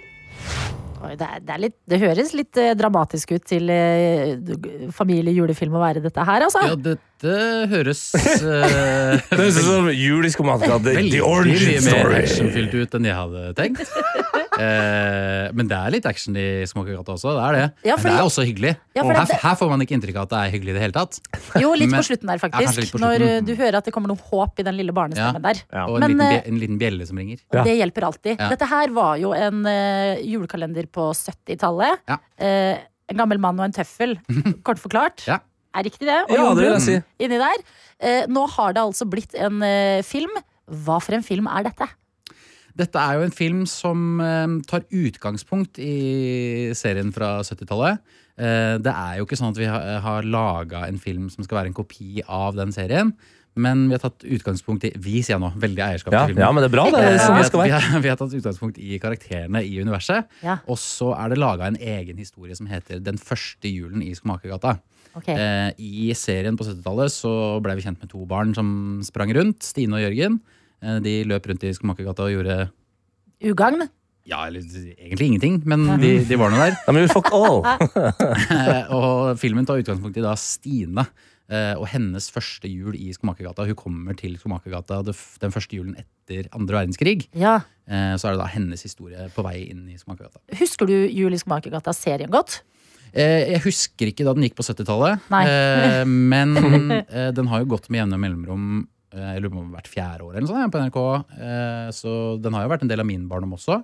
S2: Oi, det, er, det, er litt, det høres litt eh, dramatisk ut til eh, du- familiejulefilm å være dette her, altså.
S11: Ja, dette høres eh,
S3: Det høres ut som jul i skomatka. The, the
S11: veldig
S3: origin
S11: mye mer
S3: story.
S11: actionfylt ut enn jeg hadde tenkt. Eh, men det er litt action i Småkegata også. Det er det.
S2: Ja,
S11: men det
S2: fordi-
S11: er også hyggelig.
S2: Ja, for
S11: her,
S2: det-
S11: her får man ikke inntrykk av at det er hyggelig i det hele tatt.
S2: Jo, litt
S11: Men-
S2: på slutten der,
S11: Ja,
S2: faktisk.
S11: kanskje litt på
S2: Når eh,
S11: slutten.
S2: du hører at det kommer noe håp i den lille
S11: Ja.
S2: barnestemmen der.
S11: Og en,
S2: Men,
S11: liten,
S2: eh,
S11: bje- en liten bjelle som ringer.
S2: og det hjelper alltid.
S11: Ja.
S2: Dette her var jo en eh, julekalender på 70-tallet.
S11: Ja.
S2: Eh, en gammel mann og en tøffel, kort forklart.
S11: Ja.
S2: Er riktig det? Og
S3: Ja,
S2: Jon
S3: det vil jeg
S2: Brun
S3: si.
S2: inni der. Eh, nå har det altså blitt en eh, film. Hva for en film er dette?
S11: Dette er jo en film som eh, tar utgangspunkt i serien fra 70-tallet. Eh, det er jo ikke sånn at vi har, har laga en film som skal være en kopi av den serien. Men vi har tatt utgangspunkt i Vi, sier jeg nå. Veldig eierskap
S3: Ja,
S11: til filmen.
S3: ja, men det er bra, det er
S11: Eh,
S3: sånn
S11: vi,
S3: det skal
S11: har, vi,
S3: være.
S11: har, vi har tatt utgangspunkt i karakterene i universet.
S2: Ja.
S11: Og så er det laga en egen historie som heter Den første julen i Skomakergata.
S2: Ok.
S11: Eh, I serien på 70-tallet så ble vi kjent med to barn som sprang rundt. Stine og Jørgen. Eh, de løp rundt i Skomakergata og gjorde
S2: Ugagn?
S11: ja, eller egentlig ingenting, men de, de var nå der.
S3: I mean, fuck all.
S11: Eh, og filmen tar utgangspunkt i da Stine eh, og hennes første jul i Skomakergata. Hun kommer til Skomakergata det f- den første julen etter andre verdenskrig.
S2: Ja.
S11: Eh, Så er det da hennes historie på vei inn i Skomakergata.
S2: Husker du Jul i Skomakergata-serien godt?
S11: Eh, Jeg husker ikke da den gikk på 70-tallet,
S2: Nei.
S11: eh, men eh, den har jo gått med jevne mellomrom. eh, Jeg lurer på om hvert fjerde år eller noe sånt, ja, på NRK. Eh, Så den har jo vært en del av min barndom også.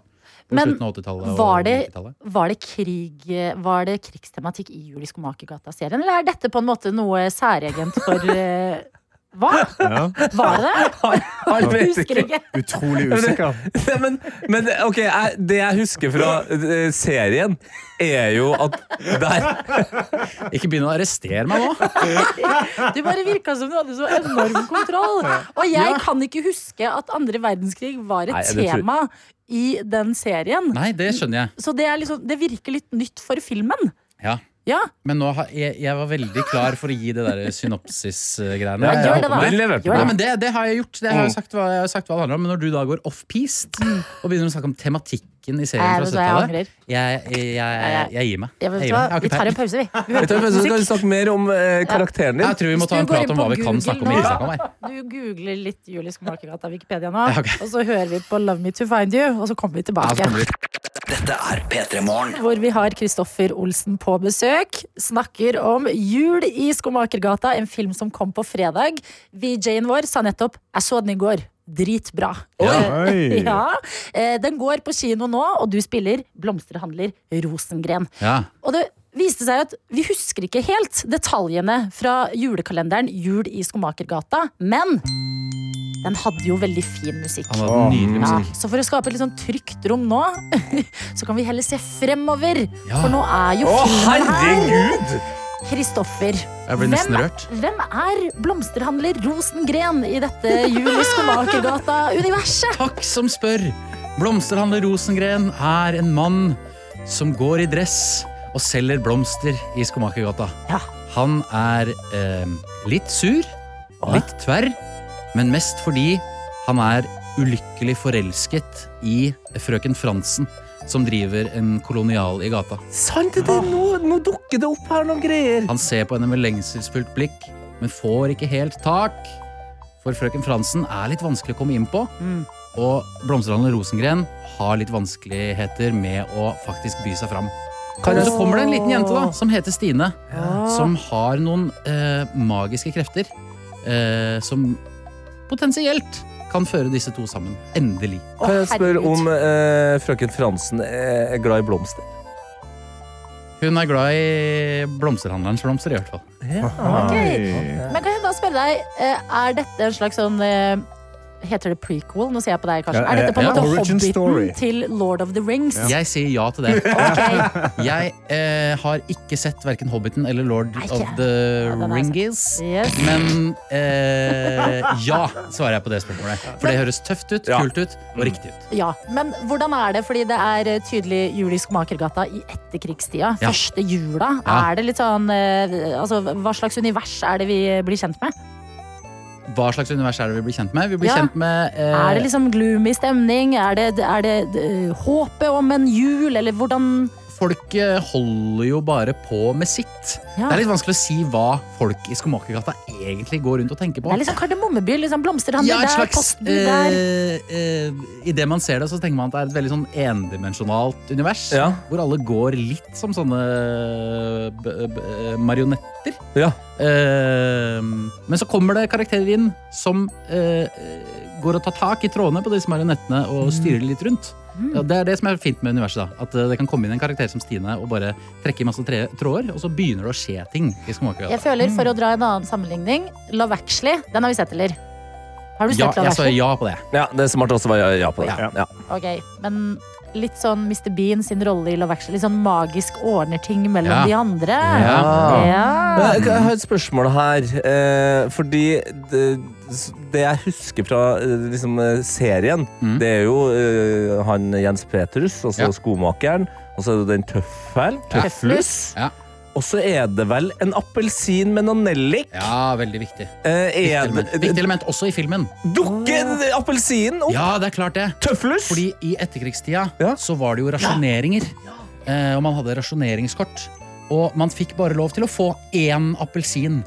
S11: På
S2: Men
S11: slutten av 80-tallet og
S2: Var det,
S11: 90-tallet.
S2: var, det krig, var det krigstematikk i Jul i Skomakergata-serien, eller er dette på en måte noe særegent for eh, Hva? Var det det?
S3: Han vet
S2: Husker ikke.
S4: Utrolig
S3: usikker. Nei, men, men ok, jeg, det jeg husker fra eh, serien, er jo at der
S11: Ikke begynn å arrestere meg nå.
S2: Du bare virka som du hadde så enorm kontroll. Og jeg kan ikke huske at andre verdenskrig var
S11: Nei,
S2: et
S11: det tror-
S2: tema i den serien.
S11: Nei, det skjønner jeg.
S2: Så det, er liksom, det virker litt nytt for filmen.
S11: Ja.
S2: Ja.
S11: Men nå har, jeg, jeg var veldig klar for å gi det der eh, synopsis-greiene.
S2: Ja, gjør det da. Den leverte Gjør du. det.
S11: Nei, men det, det har jeg gjort. Det har jeg,
S2: Mm.
S11: sagt hva, jeg har sagt hva det handler om. Men når du da går off-piste og begynner å snakke om tematikken i
S2: Nei,
S11: serien fra
S2: vet du hva, jeg
S11: 70-tallet, jeg, jeg, jeg, jeg gir meg.
S2: Ja, vet
S11: Jeg
S2: du
S11: gir
S2: hva?
S11: meg. Jeg har ikke
S2: Vi tar
S11: peiling.
S2: en pause, vi. Vi hører
S3: Vet du,
S2: på
S3: hva, Så skal
S2: musikk.
S3: vi snakke mer om eh, karakteren din.
S11: Jeg tror vi må
S2: Hvis
S11: ta en
S2: du går
S11: prat
S2: inn
S11: om hva
S2: på
S11: vi kan
S2: Google
S11: snakke om. og ikke
S2: nå,
S11: snakke om her.
S2: Du googler litt Julie Skomakergata Wikipedia nå,
S11: Ja, ok.
S2: og så hører vi på Love Me To Find You, og så kommer vi tilbake.
S1: Dette er P3 Morgen.
S2: hvor vi har Kristoffer Olsen på besøk. Snakker om Jul i Skomakergata, en film som kom på fredag. VJ-en vår sa nettopp 'Jeg så den i går'. Dritbra.
S16: Oi.
S2: ja. Eh, Den går på kino nå, og du spiller blomsterhandler Rosengren.
S11: Ja.
S2: Og det viste seg at vi husker ikke helt detaljene fra julekalenderen Jul i Skomakergata, men den hadde jo veldig fin musikk.
S11: Han hadde nydelig musikk.
S2: Ja, så for å skape et litt sånn trygt rom nå, så kan vi heller se fremover.
S11: Ja.
S2: For nå er jo
S11: Å,
S2: filmen
S11: herregud!
S2: her. Kristoffer,
S11: Jeg ble nesten rørt.
S2: hvem er blomsterhandler Rosengren i dette Jul i Skomakergata-universet?
S11: Takk som spør. Blomsterhandler Rosengren er en mann som går i dress og selger blomster i Skomakergata. Han er eh, litt sur, litt tverr, men mest fordi han er ulykkelig forelsket i frøken Fransen, som driver en kolonial i gata.
S3: Sant det, det, nå, nå dukker det opp her noen greier.
S11: Han ser på henne med lengselsfullt blikk, men får ikke helt tak. For frøken Fransen er litt vanskelig å komme inn på. Og blomsterhandler Rosengren har litt vanskeligheter med å faktisk by seg fram.
S13: Kan jeg-
S11: Så kommer det en liten jente da, som heter Stine, som har noen eh, magiske krefter eh, som potensielt kan føre disse to sammen. Endelig.
S3: Kan jeg spørre om eh, frøken Fransen er er glad i blomster?
S11: Hun er glad i blomsterhandlerens blomster, i hvert fall.
S2: Ok. Men kan jeg da spørre deg, eh, er dette en slags sånn eh, Heter det prequel? Nå ser jeg på deg, Karsten.
S11: Ja,
S2: Er dette på en
S11: ja.
S2: måte
S11: Origin
S2: Hobbiten
S11: story.
S2: til Lord of the Rings?
S11: Jeg sier ja til det. Jeg eh, har ikke sett verken Hobbiten eller Lord of the Ringies. Men eh, ja, svarer jeg på det spørsmålet. For det høres tøft ut, kult ut og riktig ut.
S2: Ja, men hvordan er det? Fordi det er eh, tydelig jul i Skomakergata i etterkrigstida.
S11: Ja.
S2: Første jula.
S11: Ja.
S2: Er det litt sånn eh, Altså, hva slags univers er det vi blir kjent med?
S11: Hva slags univers er det vi blir kjent med? Vi blir
S2: Ja.
S11: kjent med eh,
S2: Er det liksom gloomy stemning? Er det, er det eh, håpet om en jul, eller hvordan
S11: Folk eh, holder jo bare på med sitt.
S2: Ja.
S11: Det er litt vanskelig å si hva folk i Skomakergata egentlig går rundt og tenker på.
S2: Det er liksom Kardemommeby. Liksom blomsterhandel
S11: et
S2: der,
S11: slags,
S2: postbud der.
S11: eh, eh, I det man ser det, så tenker man at det er et veldig sånn endimensjonalt univers. Hvor alle går litt som sånne b b marionetter. Eh, men så kommer det karakterer inn som eh, går og tar tak i trådene på disse marionettene og styrer litt rundt. Ja, det er det som er fint med universet. da At eh, det kan komme inn en karakter som Stine og bare trekke i masse tre tråder, og så begynner det å skje ting. i Skomakergata.
S2: Jeg føler,
S11: Mm.
S2: for å dra en annen sammenligning, Love Actually, den har vi sett, eller? Har du sett
S3: Ja,
S2: Love
S3: jeg sa
S2: Actually?
S11: ja på det.
S3: Ja, Det er smart også å være ja på det. Ja.
S2: Ok, men litt sånn Mr. Bean sin rolle i Love Actually. Litt sånn magisk ordner ting mellom
S3: Ja.
S2: de andre.
S3: Ah. Men
S2: Ja.
S3: Jeg, jeg har et spørsmål her. Eh, fordi det, det jeg husker fra eh, liksom, eh, serien, det er jo eh, han Jens Petrus, altså
S11: Mm. Ja.
S3: skomakeren, og så er det den tøffel,
S11: Ja.
S3: Tøflus. Og så er det vel en appelsin med noe nellik.
S11: Ja, veldig viktig.
S3: Eh, er det,
S11: element. Viktig element også i filmen.
S3: Dukker appelsinen opp?
S11: Ja, det er klart det.
S3: Tøflus!
S11: Fordi i etterkrigstida så var det jo rasjoneringer. Eh, og man hadde rasjoneringskort. Og man fikk bare lov til å få én appelsin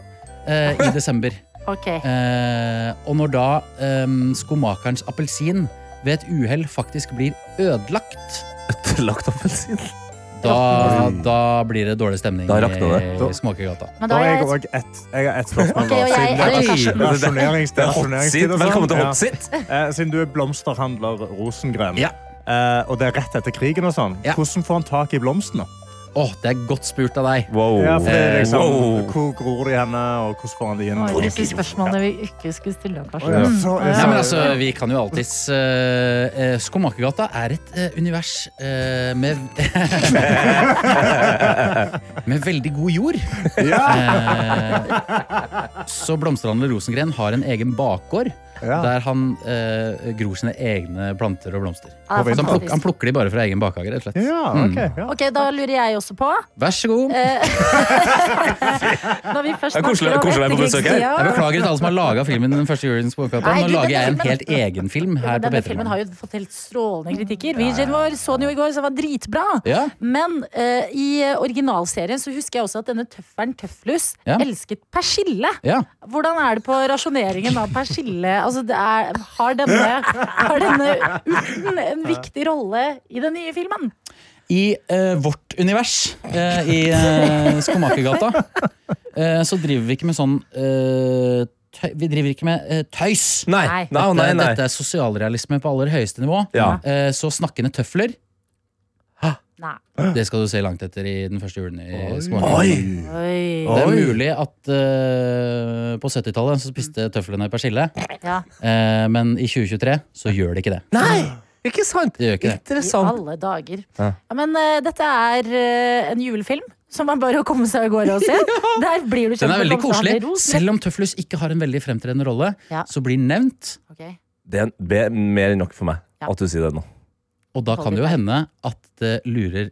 S11: eh, i desember.
S2: Ok.
S11: Eh, og når da eh, skomakerens appelsin ved et uhell faktisk blir ødelagt
S3: Ødelagt appelsin?
S11: Da, da blir det dårlig stemning
S3: Da rakner det.
S11: i Småkegata.
S2: Men
S4: Da
S2: da
S4: har jeg
S2: er
S4: òg ett. Jeg har ett spørsmål.
S2: Ok,
S4: da,
S2: og jeg-
S4: siden det er
S2: Oi.
S4: rasjonerings-
S2: Det er
S4: rasjonerings-
S3: hot seat.
S4: rasjoneringstid og sånn.
S3: Velkommen til hot
S4: Ja.
S3: seat.
S4: Eh, Siden du er blomsterhandler Rosengren, eh, og det er rett etter krigen, og sånn, hvordan får han tak i blomstene?
S11: Åh, det er godt spurt av deg.
S3: Oh.
S4: Ja, for det er
S11: Eh,
S4: liksom,
S11: wow.
S4: Hvor gror de henne, og hvordan får han de inn?
S2: Oi, disse spørsmålene vi ikke skulle stille, Karsten.
S4: Å, ja. Så-
S2: Mm.
S11: Nei, men altså, vi kan jo alltids uh, Skomakergata er et eh, univers eh, med Med veldig god jord. Eh, så Blomsterhandler Rosengren har en egen bakgård. Der han eh, gror sine egne planter og blomster.
S2: Ja, det er Ah,
S11: så han, pluk,
S2: fantastisk.
S11: han plukker de bare fra egen bakhage. rett og slett. Mm.
S2: Ok, da lurer jeg også på
S11: Vær så god.
S2: eh, Når vi først
S11: Det er koselig-
S2: snakker om
S11: koselig å være på besøk her.
S2: etterkrigstida-
S11: Jeg beklager til alle som har laga filmen Den første julens bokgata.
S2: Nei, du,
S11: Nå
S2: denne
S11: lager jeg en
S2: filmen-
S11: helt egen film
S2: Ja,
S11: her på
S2: Denne filmen
S11: P3.
S2: har jo fått helt strålende kritikker. Virgin vår så den jo i går, så den var dritbra.
S11: Ja.
S2: Men eh, i originalserien så husker jeg også at denne tøffelen Tøflus
S11: Ja.
S2: elsket persille.
S11: Ja.
S2: Hvordan er det på rasjoneringen av persille? Altså, det er, har denne, har denne urten en viktig rolle i den nye filmen?
S11: I eh, vårt univers, eh, i eh, Skomakergata, eh, så driver vi ikke med sånn eh, tøy, Vi driver ikke med eh, tøys.
S3: Nei, nei, nei,
S11: Dette,
S3: nei.
S11: dette er sosialrealisme på aller høyeste nivå.
S3: Ja.
S11: Eh, så snakkende tøfler
S2: Nei.
S11: det skal du se langt etter i den første julen i
S3: Oi.
S11: Skomakergata. Det er mulig at eh, på 70-tallet så spiste tøflene persille.
S2: Ja.
S11: Eh, men i 2023 så gjør det ikke det.
S3: Ikke sant?
S11: Det gjør ikke det.
S2: I alle dager. Ja, men eh, dette er eh, en julefilm som man bare å komme seg av gårde og se. Der blir du kjent
S11: Den er
S2: med
S11: veldig koselig.
S2: Blomsterhandler Rosen.
S11: Selv om Tøflus ikke har en veldig fremtredende rolle,
S2: Ja.
S11: så blir den nevnt.
S2: Ok.
S3: Det er be- mer enn nok for meg
S2: Ja.
S3: at du sier det nå.
S11: Og da kan det jo hende at det lurer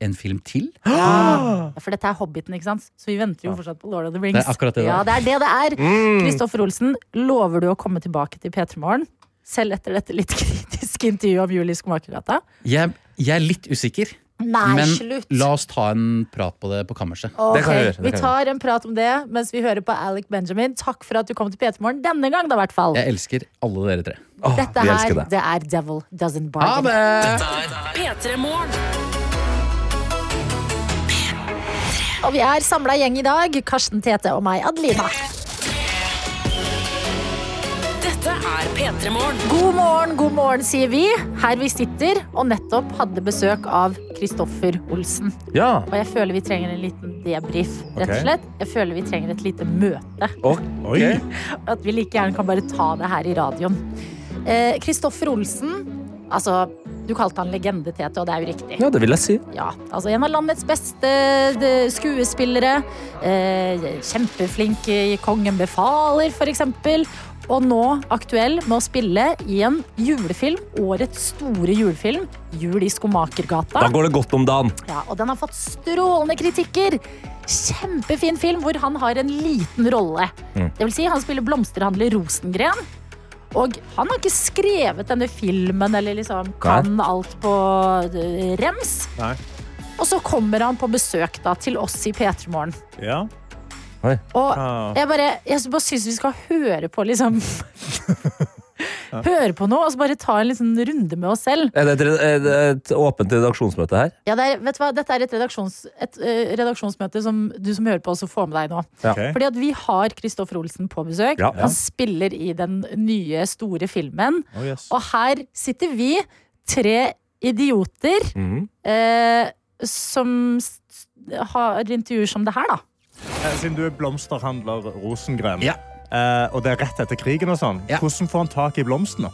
S11: en film til.
S2: Ja, for dette er Hobbiten, ikke sant? Så vi venter jo fortsatt på Lord of the Rings.
S11: Det er akkurat det det er.
S2: ja, det er det det er.
S11: Mm.
S2: Kristoffer Olsen, lover du å komme tilbake til P3 Morgen? Selv etter dette litt kritiske intervjuet om Julie Skomakergata?
S11: Jeg, jeg er litt usikker.
S2: Nei,
S11: men
S2: slutt.
S11: la oss ta en prat på det på kammerset.
S2: Ok, vi tar en prat om det mens vi hører på Alec Benjamin. Takk for at du kom til P3 Morgen denne gang, da, i hvert fall.
S11: Jeg elsker alle dere tre.
S2: Dette her, det. er Devil Doesn't Bargain.
S12: P3 Morgen.
S2: Og vi er samla gjeng i dag. Karsten Tete og meg, Adelina.
S12: Dette er P3 Morgen.
S2: God morgen, god morgen, sier vi. Her vi sitter, og nettopp hadde besøk av Kristoffer Olsen.
S3: Ja.
S2: Og jeg føler vi trenger en liten debrief, rett og
S3: Ok.
S2: slett. Jeg føler vi trenger et lite møte.
S3: Oi.
S2: At vi like gjerne kan bare ta det her i radioen. Eh, Kristoffer Olsen, altså du kalte han legende, Tete, og det er jo riktig.
S3: Ja, det vil jeg si.
S2: Ja, altså en av landets beste de, skuespillere. Eh, kjempeflink i Kongen befaler, for eksempel. Og nå aktuell med å spille i en julefilm, årets store julefilm, Jul i Skomakergata.
S3: Da går det godt om dagen.
S2: Ja, og den har fått strålende kritikker. Kjempefin film hvor han har en liten rolle.
S3: Mm.
S2: Det vil si, han spiller blomsterhandler Rosengren. Og han har ikke skrevet denne filmen eller liksom kan alt på eh, rems.
S4: Nei.
S2: Og så kommer han på besøk da, til oss i P3 Morgen.
S4: Ja. Ah,
S2: Og jeg bare, jeg bare syns vi skal høre på liksom Høre på noe og så bare ta en liten runde med oss selv.
S3: Er det et, re- er det et åpent redaksjonsmøte her?
S2: Ja, det er, vet du hva? Dette er et, redaksjons, et eh, redaksjonsmøte som du som hører på også får med deg nå.
S3: Ja. Ok.
S2: Fordi at vi har Kristoffer Olsen på besøk.
S3: Ja.
S2: Han spiller i den nye, store filmen.
S3: Oh, yes.
S2: Og her sitter vi, tre idioter,
S3: Mhm.
S2: eh, som s- har intervjuer som det her, da.
S4: Eh, Siden du er blomsterhandler Rosengren, eh, og det er rett etter krigen og sånn, hvordan får han tak i blomstene?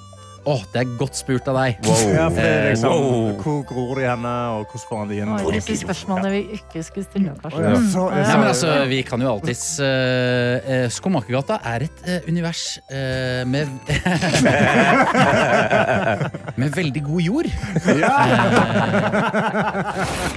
S11: Åh, det er godt spurt av deg.
S4: Ja, for det er
S11: Eh,
S4: liksom,
S11: wow.
S4: Hvor gror de henne, og hvordan får han de inn?
S2: Oi, disse spørsmålene vi ikke skulle stille, kanskje.
S4: Ja.
S2: Mm.
S4: Så-
S11: Nei, men altså, vi kan jo alltids eh, eh, Skomakergata er et eh, univers eh, med Med veldig god jord.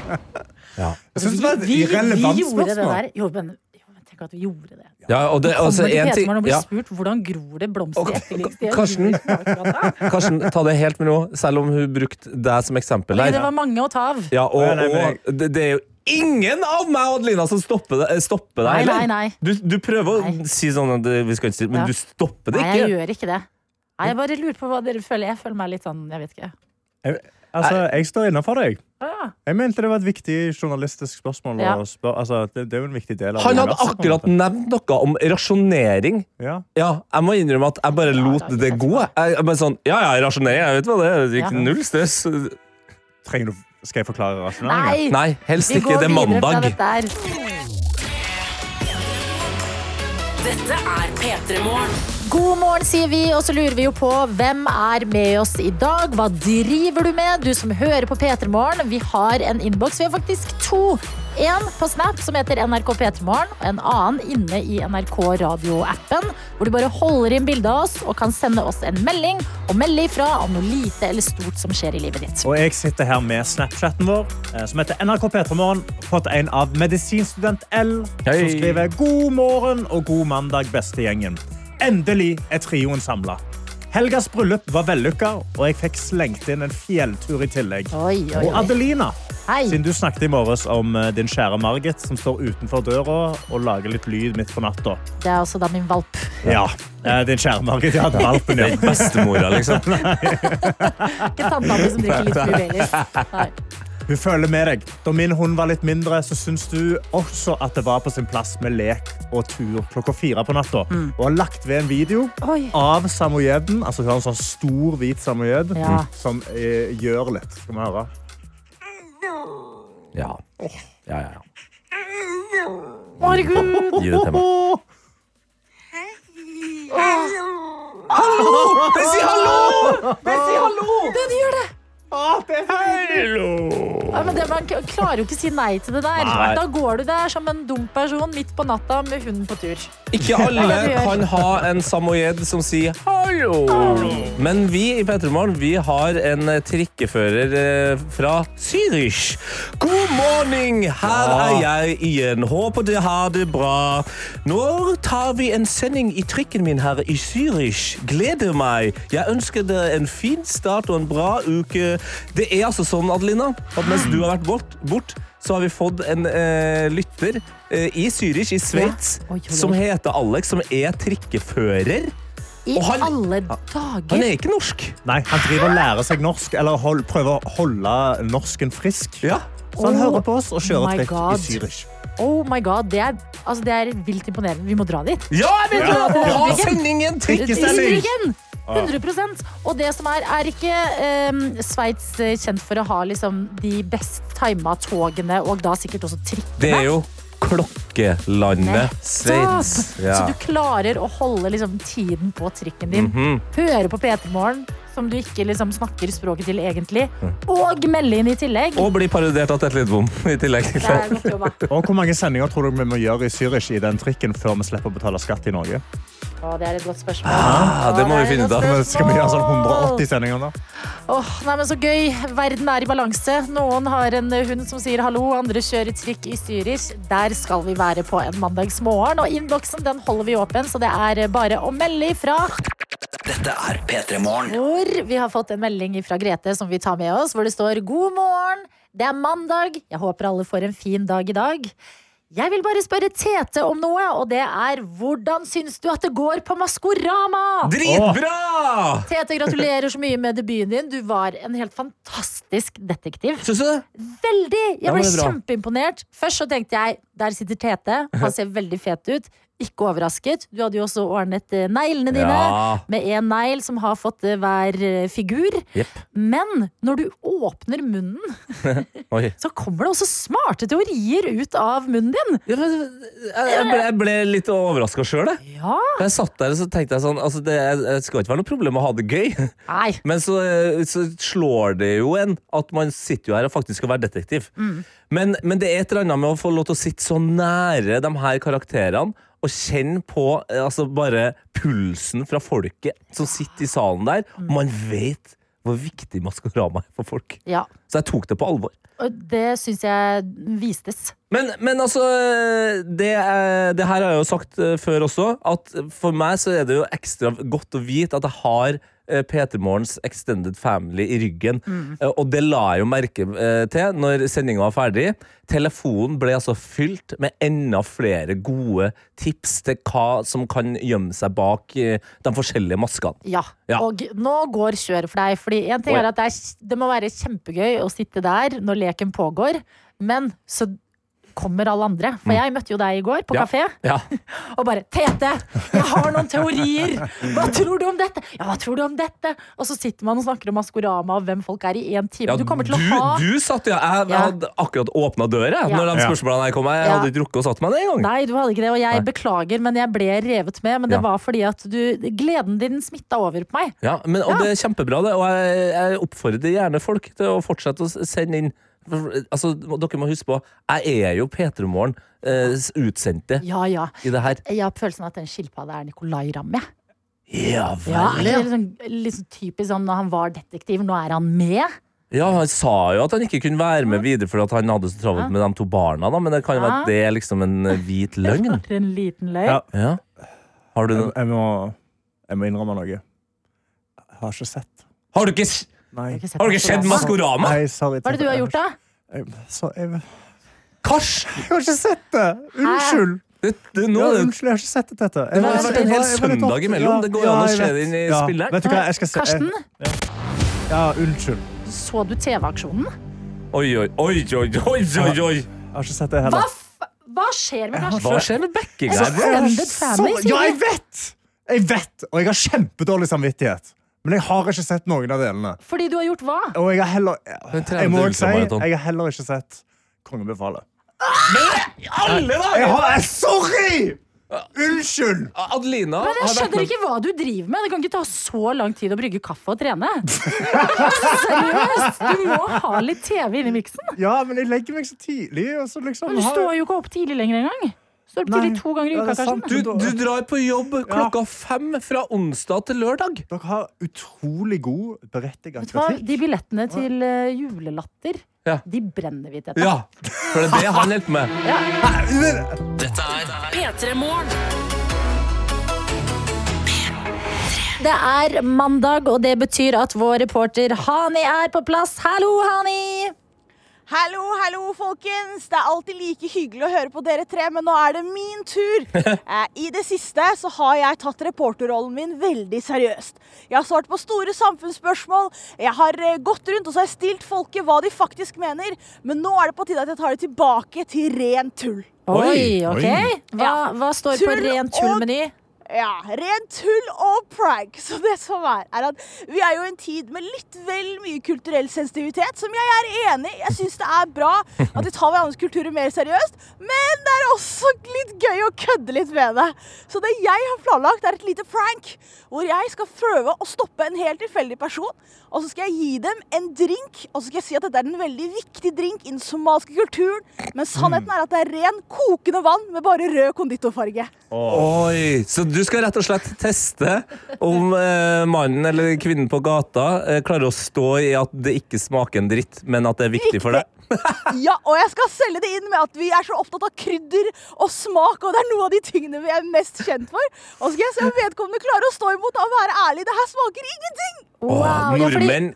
S4: Jeg synes det var et irrelevant
S2: gjorde det
S4: spørsmål.
S2: der. Jo, men, jo, men tenk at vi gjorde det.
S3: Ja, og det, altså,
S2: Kommer til
S3: en ting,
S2: P3morgen og blir
S3: ja.
S2: spurt hvordan gror det blomster i etterkrigstida?
S3: Karsten, Karsten, ta det helt med ro, selv om hun brukte deg som eksempel
S2: Fordi det var
S3: her.
S2: mange å ta av.
S3: Ja, og,
S4: Nei, nei, men
S3: og det, det er jo ingen av meg og Adelina som stopper deg. Stopper deg
S2: Nei,
S3: heller.
S2: nei, nei.
S3: Du, du prøver å si sånn at det- vi skal ikke si men
S2: Ja.
S3: du stopper det
S2: Nei, jeg
S3: ikke.
S2: gjør ikke det. Nei, jeg bare lurer på hva dere føler. Jeg føler meg litt sånn, jeg vet ikke.
S4: Jeg, altså, jeg står innenfor deg.
S2: Ja.
S4: Jeg mente det var et viktig journalistisk spørsmål.
S2: Ah. Ja.
S4: Å spør, altså, det, det er jo en viktig del av
S3: Han hadde
S4: universet, på en
S3: akkurat
S4: måte.
S3: nevnt noe om rasjonering.
S4: Ja.
S3: jeg må innrømme at jeg bare lot det gå. Jeg, jeg bare sånn, ja, ja, rasjonering, jeg vet hva det er. Det
S2: Ja.
S3: gikk null stress.
S4: Trenger du
S17: Skal jeg forklare rasjonalet?
S2: Nei,
S17: Nei, helst
S2: vi
S17: ikke.
S2: går
S17: Det er
S2: videre fra
S17: mandag.
S2: dette her.
S12: Dette er P3 Morgen.
S2: God morgen, sier vi, og så lurer vi jo på hvem er med oss i dag. Hva driver du med, du som hører på P3morgen? Vi har en innboks. Vi har faktisk to. En på Snap som heter NRK P3morgen, og en annen inne i NRK radioappen, hvor du bare holder inn bilde av oss og kan sende oss en melding og melde ifra om noe lite eller stort som skjer i livet ditt.
S4: Og jeg sitter her med Snapchatten vår, eh, som heter NRK P3morgen. Fått en av medisinstudent L, som
S3: Hei.
S4: skriver God morgen og god mandag, beste gjengen. Endelig er trioen samla. Helgas bryllup var vellykka, og jeg fikk slengt inn en fjelltur i tillegg.
S2: oi, oi.
S4: Og Adelina,
S2: Hei.
S4: siden du snakket i morges om eh, din kjære Margit, som står utenfor døra og lager litt lyd midt på natta.
S2: Det er også da min valp.
S4: Ja, eh, din kjære Margit. Ja, det er valpen, ja.
S3: Det er bestemora, liksom.
S2: Ikke tanta mi som drikker litt Blue Baileys. Nei.
S4: Hun føler med deg. Da min hund var litt mindre, så syns du også at det var på sin plass med lek og tur klokka fire på natta. Og har lagt ved en video av samoyeden. Altså, hun har en sånn stor, hvit samoyed
S2: Ja.
S4: som eh, gjør litt. Skal vi høre?
S3: Ja. Ja, ja, ja.
S2: Herregud!
S3: Gi det til
S4: meg.
S2: Hallo!
S4: Den sier hallo! Den sier hallo!
S2: Den gjør det!
S4: Hallo!
S2: Ja, men det, man k- klarer jo ikke å si nei til det der.
S3: Nei.
S2: Da går du der som en dum person midt på natta med hunden på tur.
S3: Ikke alle kan ha en samoyed som sier hallo. Men vi i Petromorgen, vi har en eh, trikkefører eh, fra Zürich. God morgen, her er jeg igjen. Håper dere har det bra. Nå tar vi en sending i trikken min her i Zürich. Gleder meg. Jeg ønsker dere en fin start og en bra uke. Det er altså sånn, Adelina, at mens du har vært bort, bort så har vi fått en eh, lytter eh, i Zürich, i Sveits,
S2: Ja. Oi, oi, oi.
S3: som heter Alex, som er trikkefører.
S2: I
S3: Og han- Ah.
S2: alle dager.
S3: Han er ikke norsk.
S4: Nei, han driver og lærer seg norsk, eller hold, prøver å holde norsken frisk. Så han
S2: Oh,
S4: hører på oss og
S2: my
S4: kjører trikk
S2: God.
S4: i Zürich.
S2: Oh my god, det er, altså, det er vilt imponerende. Vi må dra dit.
S3: Ja, vi må dra til den
S2: Ja.
S3: trikken. Sendingen, trikkesending.
S2: Trikken. 100 Og det som er, er ikke um, Sveits eh, kjent for å ha liksom, de best tima togene, og da sikkert også trikkene?
S3: Det er jo klokkelandet Sveits.
S2: Nettopp! Så du klarer å holde liksom, tiden på trikken din.
S3: Mhm.
S2: Høre på P3 Morgen, som du ikke liksom, snakker språket til egentlig. Og melde inn i tillegg.
S3: Mm. Og blir parodiert av Tete Lidbom i tillegg.
S4: Og hvor mange sendinger tror du vi må gjøre i Zürich i den trikken før vi slipper å betale skatt i Norge?
S2: Å, det er et godt spørsmål.
S4: Ah,
S2: det må vi finne ut av.
S4: Men Skal vi gjøre sånn 180 sendinger da?
S2: Åh, nei, men Så gøy. Verden er i balanse. Noen har en eh, hund som sier hallo, andre kjører trikk i Zürich. Der skal vi være på en mandagsmorgen. Og innboksen den holder vi åpen, så det er eh, bare å melde ifra.
S1: Dette er P3 Morgen.
S2: Hvor vi har fått en melding fra Grete som vi tar med oss, hvor det står God morgen, det er mandag. Jeg håper alle får en fin dag i dag. Jeg vil bare spørre Tete om noe, og det er hvordan syns du at det går på Maskorama?
S3: Dritbra!
S2: Tete, gratulerer så mye med debuten din. Du var en helt fantastisk detektiv.
S3: Syns du det?
S2: Veldig!
S3: Ja,
S2: Jeg ble
S3: men det er bra.
S2: kjempeimponert. Først så tenkte jeg der sitter Tete, han ser veldig fet ut. Ikke overrasket. Du hadde jo også ordnet eh, neglene dine
S3: Ja.
S2: med en negl som har fått eh, hver eh, figur.
S3: Jepp.
S2: Men når du åpner munnen,
S3: Oi.
S2: så kommer det også smarte teorier ut av munnen din.
S3: Jeg, jeg, ble, jeg ble litt overraska sjøl, jeg.
S2: eh, Ja.
S3: Jeg satt der og så tenkte jeg sånn altså det, det skal ikke være noe problem å ha det gøy.
S2: Nei.
S3: Men så, eh, så slår det jo en at man sitter jo her og faktisk skal være detektiv.
S18: Mm.
S3: Men, men det er et eller annet med å få lov til å sitte så nære de her karakterene og kjenne på eh, altså bare pulsen fra folket som sitter i salen der.
S2: Mm.
S3: Og man vet hvor viktig Maskorama er for folk.
S2: Ja,
S3: Så jeg tok det på alvor.
S2: og det syns jeg vistes.
S3: Men, men altså, det, er- det her har jeg jo sagt eh, før også, at for meg så er det jo ekstra godt å vite at jeg har eh, P3 Morgens Extended Family i ryggen.
S18: Mm.
S3: Eh, Og det la jeg jo merke eh, til når sendinga var ferdig. Telefonen ble altså fylt med enda flere gode tips til hva som kan gjemme seg bak eh, de forskjellige maskene.
S2: Ja.
S3: Ja.
S2: Og nå går kjøret for deg. Fordi en ting
S3: Oi.
S2: er at det, er, det må være kjempegøy å sitte der når leken pågår, men så kommer alle andre. For jeg møtte jo deg i går på
S3: Mm. Ja.
S2: kafé.
S3: Ja.
S2: Og bare 'Tete, jeg har noen teorier! Hva tror du om dette?' Ja, hva tror du om dette? Og så sitter man og snakker om Maskorama og hvem folk er i én time.
S3: Ja,
S2: du kommer til å
S3: du,
S2: ha
S3: du satt, ja. Jeg, jeg
S2: Ja.
S3: hadde akkurat åpna døra jeg,
S2: Ja.
S3: når de
S2: Ja.
S3: spørsmålene her kom. Jeg
S2: Ja.
S3: hadde ikke rukket å satt meg ned engang.
S2: Nei, du hadde ikke det, og jeg
S3: Nei.
S2: beklager, men jeg ble revet med. Men det
S3: Ja.
S2: var fordi at du, gleden din smitta over på meg.
S3: Ja, men, og
S2: Ja.
S3: det er kjempebra, det. Og jeg, jeg oppfordrer gjerne folk til å fortsette å s- sende inn. Altså, dere må huske på, jeg er jo P3 Morgen eh, s- utsendte
S2: Ja, ja.
S3: i det her.
S2: Jeg har på følelsen av at den skilpadda er Nicolay Ramm, jeg.
S3: Ja vel.
S2: Ja,
S3: Ja,
S2: er det liksom, liksom typisk sånn når han var detektiv, nå er han med.
S3: han sa jo at han ikke kunne være med videre fordi at han hadde så travelt med de to barna, da, men det kan jo være
S2: Ja.
S3: at det er liksom en eh, hvit løgn.
S2: For en liten løgn.
S4: Ja.
S3: Ja. Har du
S4: Jeg, jeg, må, jeg må innrømme noe. Jeg har ikke sett.
S3: Har du ikke, s-
S4: Nei.
S3: har du ikke sett Maskorama?
S4: Nei, sorry,
S2: Hva er det du har gjort, da?
S4: Jeg, så, jeg,
S3: Karsten!
S4: jeg har ikke sett det! Unnskyld!
S3: Det, det, nå,
S4: ja,
S3: er det-
S4: unnskyld, jeg har ikke sett det, Tete.
S3: Det var
S4: Jeg var-
S3: en
S4: jeg var-
S3: hel
S4: jeg var litt
S3: søndag
S4: opp-
S3: imellom.
S4: Ja,
S3: Det går
S4: ja,
S3: an å
S4: jeg
S3: se det
S4: vet.
S3: inn i
S4: Ja,
S3: spillet.
S4: Vet du hva, jeg skal se
S2: Karsten,
S4: Ja, unnskyld.
S2: så du TV-aksjonen?
S3: Oi, oi, oi, oi, oi, oi, oi.
S4: Jeg har ikke sett det
S2: Hva,
S4: heller.
S2: f hva skjer med Karsten?
S3: Hva skjer med backing
S2: Jeg
S3: her,
S2: synes
S3: bro?
S2: det er-
S4: Jeg-
S2: Blended Family,
S4: så-
S2: sier
S4: Ja,
S2: de.
S4: jeg vet! Jeg vet, og jeg har kjempedårlig samvittighet. Men jeg har ikke sett noen av delene.
S2: Fordi du har gjort hva?
S4: Og jeg har heller Jeg
S3: til
S4: må også si,
S3: ultramaraton.
S4: jeg har heller ikke sett Kongen befaler.
S3: Alle dager!
S4: Jeg har, jeg, sorry! Unnskyld!
S3: Adelina
S2: Men jeg
S3: har vært
S2: skjønner
S3: med
S2: ikke hva du driver med. Det kan ikke ta så lang tid å brygge kaffe og trene. Seriøst! Du må ha litt TV inni miksen.
S4: Ja, men jeg legger meg så tidlig. Og så liksom,
S2: Men du
S4: har-
S2: står jo ikke opp tidlig lenger engang. Står opp
S4: Nei.
S2: tidlig to ganger i
S4: Ja,
S2: uka,
S4: det er sant.
S2: Karsten.
S3: du, du drar på jobb klokka fem fra onsdag til lørdag.
S4: Dere har utrolig god berettiget
S2: Vet du hva?
S4: kritikk.
S2: De billettene til eh, julelatter,
S3: Ja.
S2: de brenner vi til.
S3: Ja, for det er det han hjelper med.
S12: Dette er P3 Morgen.
S2: Det er mandag, og det betyr at vår reporter Hani er på plass. Hallo, Hani!
S11: Hallo, hallo, folkens. Det er alltid like hyggelig å høre på dere tre, men nå er det min tur. Eh, I det siste så har jeg tatt reporterrollen min veldig seriøst. Jeg har svart på store samfunnsspørsmål, jeg har eh, gått rundt og så har jeg stilt folket hva de faktisk mener, men nå er det på tide at jeg tar det tilbake til ren tull.
S2: Oi, ok.
S11: Oi.
S2: Hva, hva står på
S11: Tull
S2: ren tull-meny?
S11: Ja, ren tull og prank. Så det som er, er at vi er jo i en tid med litt vel mye kulturell sensitivitet, som jeg er enig i. Jeg syns det er bra at vi tar hverandres kulturer mer seriøst, men det er også litt gøy å kødde litt med det. Så det jeg har planlagt, er et lite prank, hvor jeg skal prøve å stoppe en helt tilfeldig person, og så skal jeg gi dem en drink, og så skal jeg si at dette er en veldig viktig drink i den somaliske kulturen, men sannheten er at det er ren kokende vann med bare rød konditorfarge.
S3: Oi, Så du skal rett og slett teste om eh, mannen eller kvinnen på gata eh, klarer å stå i at det ikke smaker en dritt, men at det er viktig for deg?
S11: Ja, og jeg skal selge det inn med at vi er så opptatt av krydder og smak, og det er noe av de tingene vi er mest kjent for. Og så skal jeg se om vedkommende klarer å stå imot og være ærlig. Det her smaker ingenting!
S3: Åh,
S2: ja, fordi-
S3: nordmenn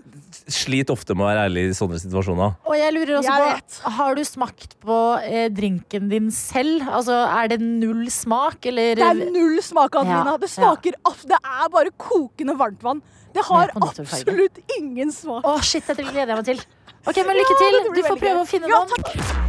S3: sliter ofte med å være ærlige i sånne situasjoner.
S2: Og jeg lurer også
S11: Jeg
S2: på, har du smakt på eh, drinken din selv? Altså, er det null smak, eller
S11: Det er null smak, Adelina.
S2: Ja,
S11: Det smaker aff, Det er bare kokende varmt vann. Det har absolutt ingen smak.
S2: Å, shit, dette gleder jeg meg til. Ok, men lykke til.
S11: det blir
S2: Du får
S11: veldig
S2: prøve
S11: gøy.
S2: å finne
S11: Ja,
S2: noen.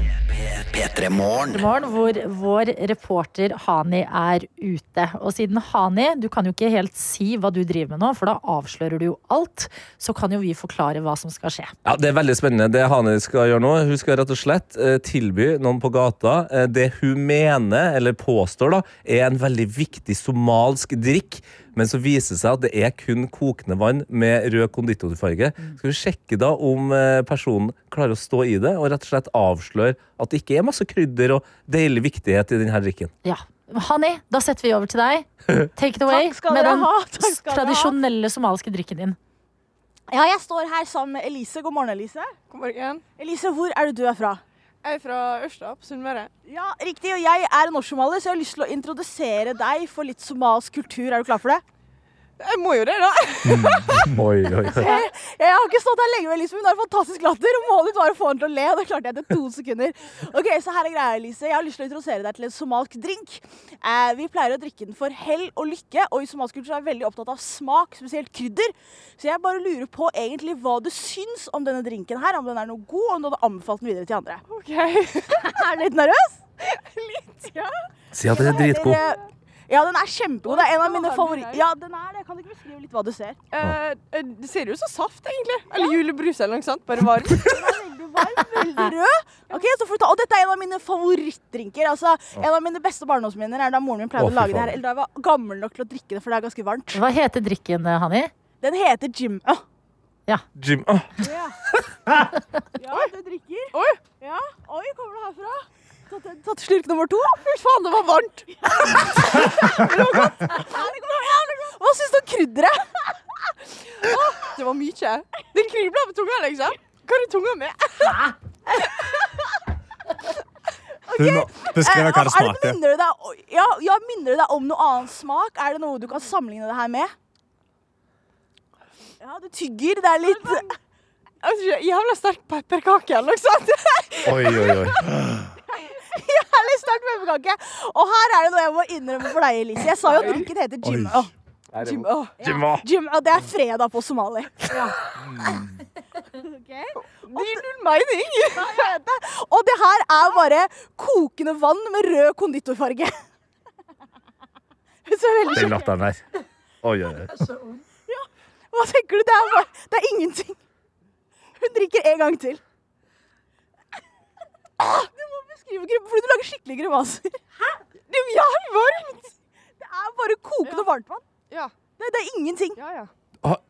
S19: P3 Morgen.
S2: morgen hvor vår reporter Hani er ute. Og siden Hani, du kan jo ikke helt si hva du driver med nå, for da avslører du jo alt. Så kan jo vi forklare hva som skal skje.
S3: Ja, Det er veldig spennende. Det Hani skal gjøre nå, hun skal rett og slett eh, tilby noen på gata eh, det hun mener, eller påstår, da, er en veldig viktig somalsk drikk. Men så viser det seg at det er kun kokende vann med rød konditorfarge. Skal vi sjekke da om eh, personen klarer å stå i det, og rett og slett avsløre at det ikke er masse krydder og deilig viktighet i denne drikken.
S2: Ja. Hani, da setter vi over til deg. Take it away
S11: Takk skal
S2: med
S11: dere
S2: den
S11: ha, takk skal dere ha.
S2: tradisjonelle somaliske drikken din.
S11: Ja, jeg står her sammen med Elise. God morgen, Elise. God morgen. Elise, hvor er det du er fra? Jeg er fra Ørsta på Sunnmøre. Ja, riktig. Og jeg er norsk-somalier, så jeg har lyst til å introdusere deg for litt somalsk kultur. Er du klar for det? Jeg må jo det, da.
S20: Oi, oi, oi.
S11: Jeg, jeg har ikke stått her lenge, men liksom, hun har fantastisk latter. Og målet var å få henne til å le, og det klarte jeg etter to sekunder. Ok, Så her er greia, Elise. Jeg har lyst til å introdusere deg til en somalsk drink. Eh, vi pleier å drikke den for hell og lykke, og i somalsk kultur er vi veldig opptatt av smak, spesielt krydder. Så jeg bare lurer på egentlig hva du syns om denne drinken her. Om den er noe god, og om du hadde anbefalt den videre til andre. Ok. er du litt nervøs? litt, ja.
S20: Si at den er dritgod.
S11: Ja, den er kjempegod. Det er en av mine
S21: Hva har du
S11: favoritter.
S21: der?
S11: Ja, den er det. Kan du ikke beskrive litt hva du ser?
S21: Eh, eh, det ser jo ut som saft, egentlig. Eller julebrus eller noe sånt. Bare varm.
S11: veldig rød. Ok, så får du ta, og dette er en av mine favorittdrinker. Altså, en av mine beste barndomsminner er da moren min
S2: Å,
S11: pleide å,
S2: fy
S11: lage det her.
S2: faen.
S11: Eller da jeg var gammel nok til å drikke det, for det er ganske varmt.
S2: Hva heter drikken, Hani?
S11: Den heter Jim. Åh,
S20: Jim. Åh.
S11: Ja, du drikker.
S21: Oi!
S11: Ja. Oi, kommer det herfra? Tatt, tatt
S21: Tatt slurk nummer to. Fy faen, det var varmt!
S11: det går jævlig godt. Hva syns du om krydderet?
S21: Åh, det var mye. Den kribla på tunga, liksom. Hva er det tunga med?
S4: Hun må beskrive
S2: eh,
S4: hva det
S11: er det,
S4: smaker.
S11: minner, du deg, ja, ja, minner du deg om noe annen smak? Er det noe du kan sammenligne det her med? Ja, du tygger. Det er litt
S21: Jeg vet ikke, Jævla sterk pepperkake eller noe sånt.
S20: Oi, oi, oi.
S11: Jævlig sterk pepperkake. Og her er det noe jeg må innrømme for deg, Elise. Jeg sa jo at drinken heter Jim.
S21: Oi.
S11: Åh, Jim, åh.
S21: Jimma.
S11: Jim, åh, det er fredag på somali.
S21: Mm.
S11: Det gir null mening. Og det her er bare kokende vann med rød konditorfarge. Så veldig
S20: Den
S11: sjukt.
S20: latteren der. Oi, oi, oi.
S11: Hva tenker du? Det er, bare, det er ingenting. Hun drikker en gang til. Ah, Du må beskrive grim- fordi du lager skikkelige grimaser. Hæ? Det er jævlig varmt! Det er bare kokende varmtvann.
S21: Ja.
S11: Det, det er ingenting.
S20: Har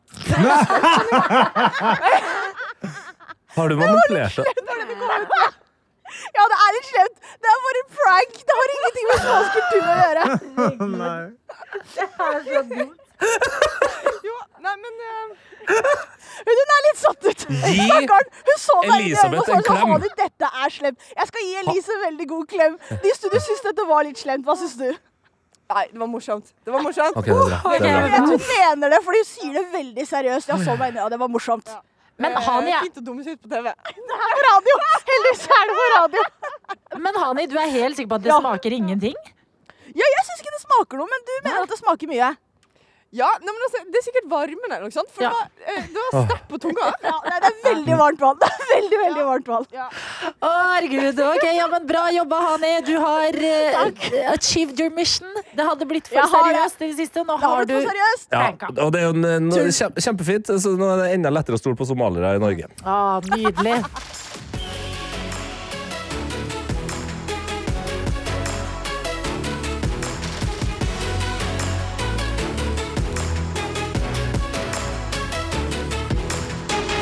S20: du manipulert det?
S11: Ja, det er litt slemt. Det er bare en prank. Det har ingenting med spansk kultur å gjøre.
S4: Nei.
S11: Det er så dumt.
S21: Jo, nei, men eh,
S11: Hun er litt satt ut.
S21: Gi
S11: Stakkaren, hun så meg inn i øynene og
S21: Elisabeth
S11: sa sånn,
S21: en klem.
S11: «Johanne, dette er slemt. Jeg skal gi Elise en veldig god klem. De i studio syns dette var litt slemt. Hva syns du?
S21: Nei, det var morsomt. Det var morsomt.
S20: Ok, det er bra.
S21: Åh,
S20: Det er bra.
S11: Jeg tror hun mener det, for hun sier det veldig seriøst. Jeg så meg inn i øynene, og det var morsomt.
S2: Men han
S21: Eh,
S2: jeg-
S21: Fint å dumme seg ut på TV.
S11: Det er på radio! Heldigvis er det på radio.
S2: Men Hani, du er helt sikker på at det smaker ingenting?
S11: Ja, jeg syns ikke det smaker noe, men du mener at det smaker mye.
S21: Ja, nei, men altså, Det er sikkert varmen eller noe sånt, for det var, eh, det var sterkt på tunga.
S11: Ja, nei, det er veldig varmt vann. Det er veldig, veldig varmt vann.
S2: Å, herregud. Ok, ja, men bra jobba, Hani. Du har eh, achieved your mission. Det hadde blitt for
S11: Jeg har det.
S2: seriøst i det siste. og Nå
S11: Det har
S2: har du
S11: blitt for seriøst.
S20: Ja, og det er jo en, en, kjem- kjempefint, så nå er det enda lettere å stole på somaliere i Norge.
S2: Ah, nydelig.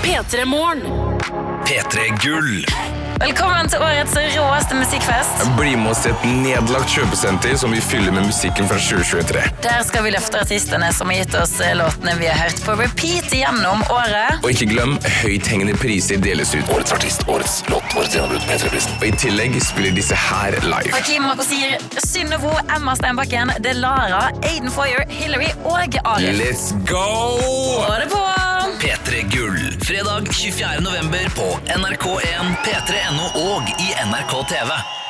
S12: P3 Morgen.
S3: P3 Gull.
S12: Velkommen til årets råeste musikkfest.
S3: Bli med oss til et nedlagt kjøpesenter som vi fyller med musikken fra 2023.
S12: Der skal vi løfte artistene som har gitt oss låtene vi har hørt på repeat gjennom året.
S3: Og ikke glem, høythengende priser deles ut. Årets artist, årets låt, årets gjennombrudd, P3-prisen. Og i tillegg spiller disse her live.
S12: Hakim Markosir, Synnevo, Emma Steinbakken, Det er Lara, Aiden Foyer, Hillary og Arif.
S3: Let's go!
S12: Få det på!
S3: P3 Gull.
S1: Fredag 24. november på NRK1, P3.no og i NRK TV.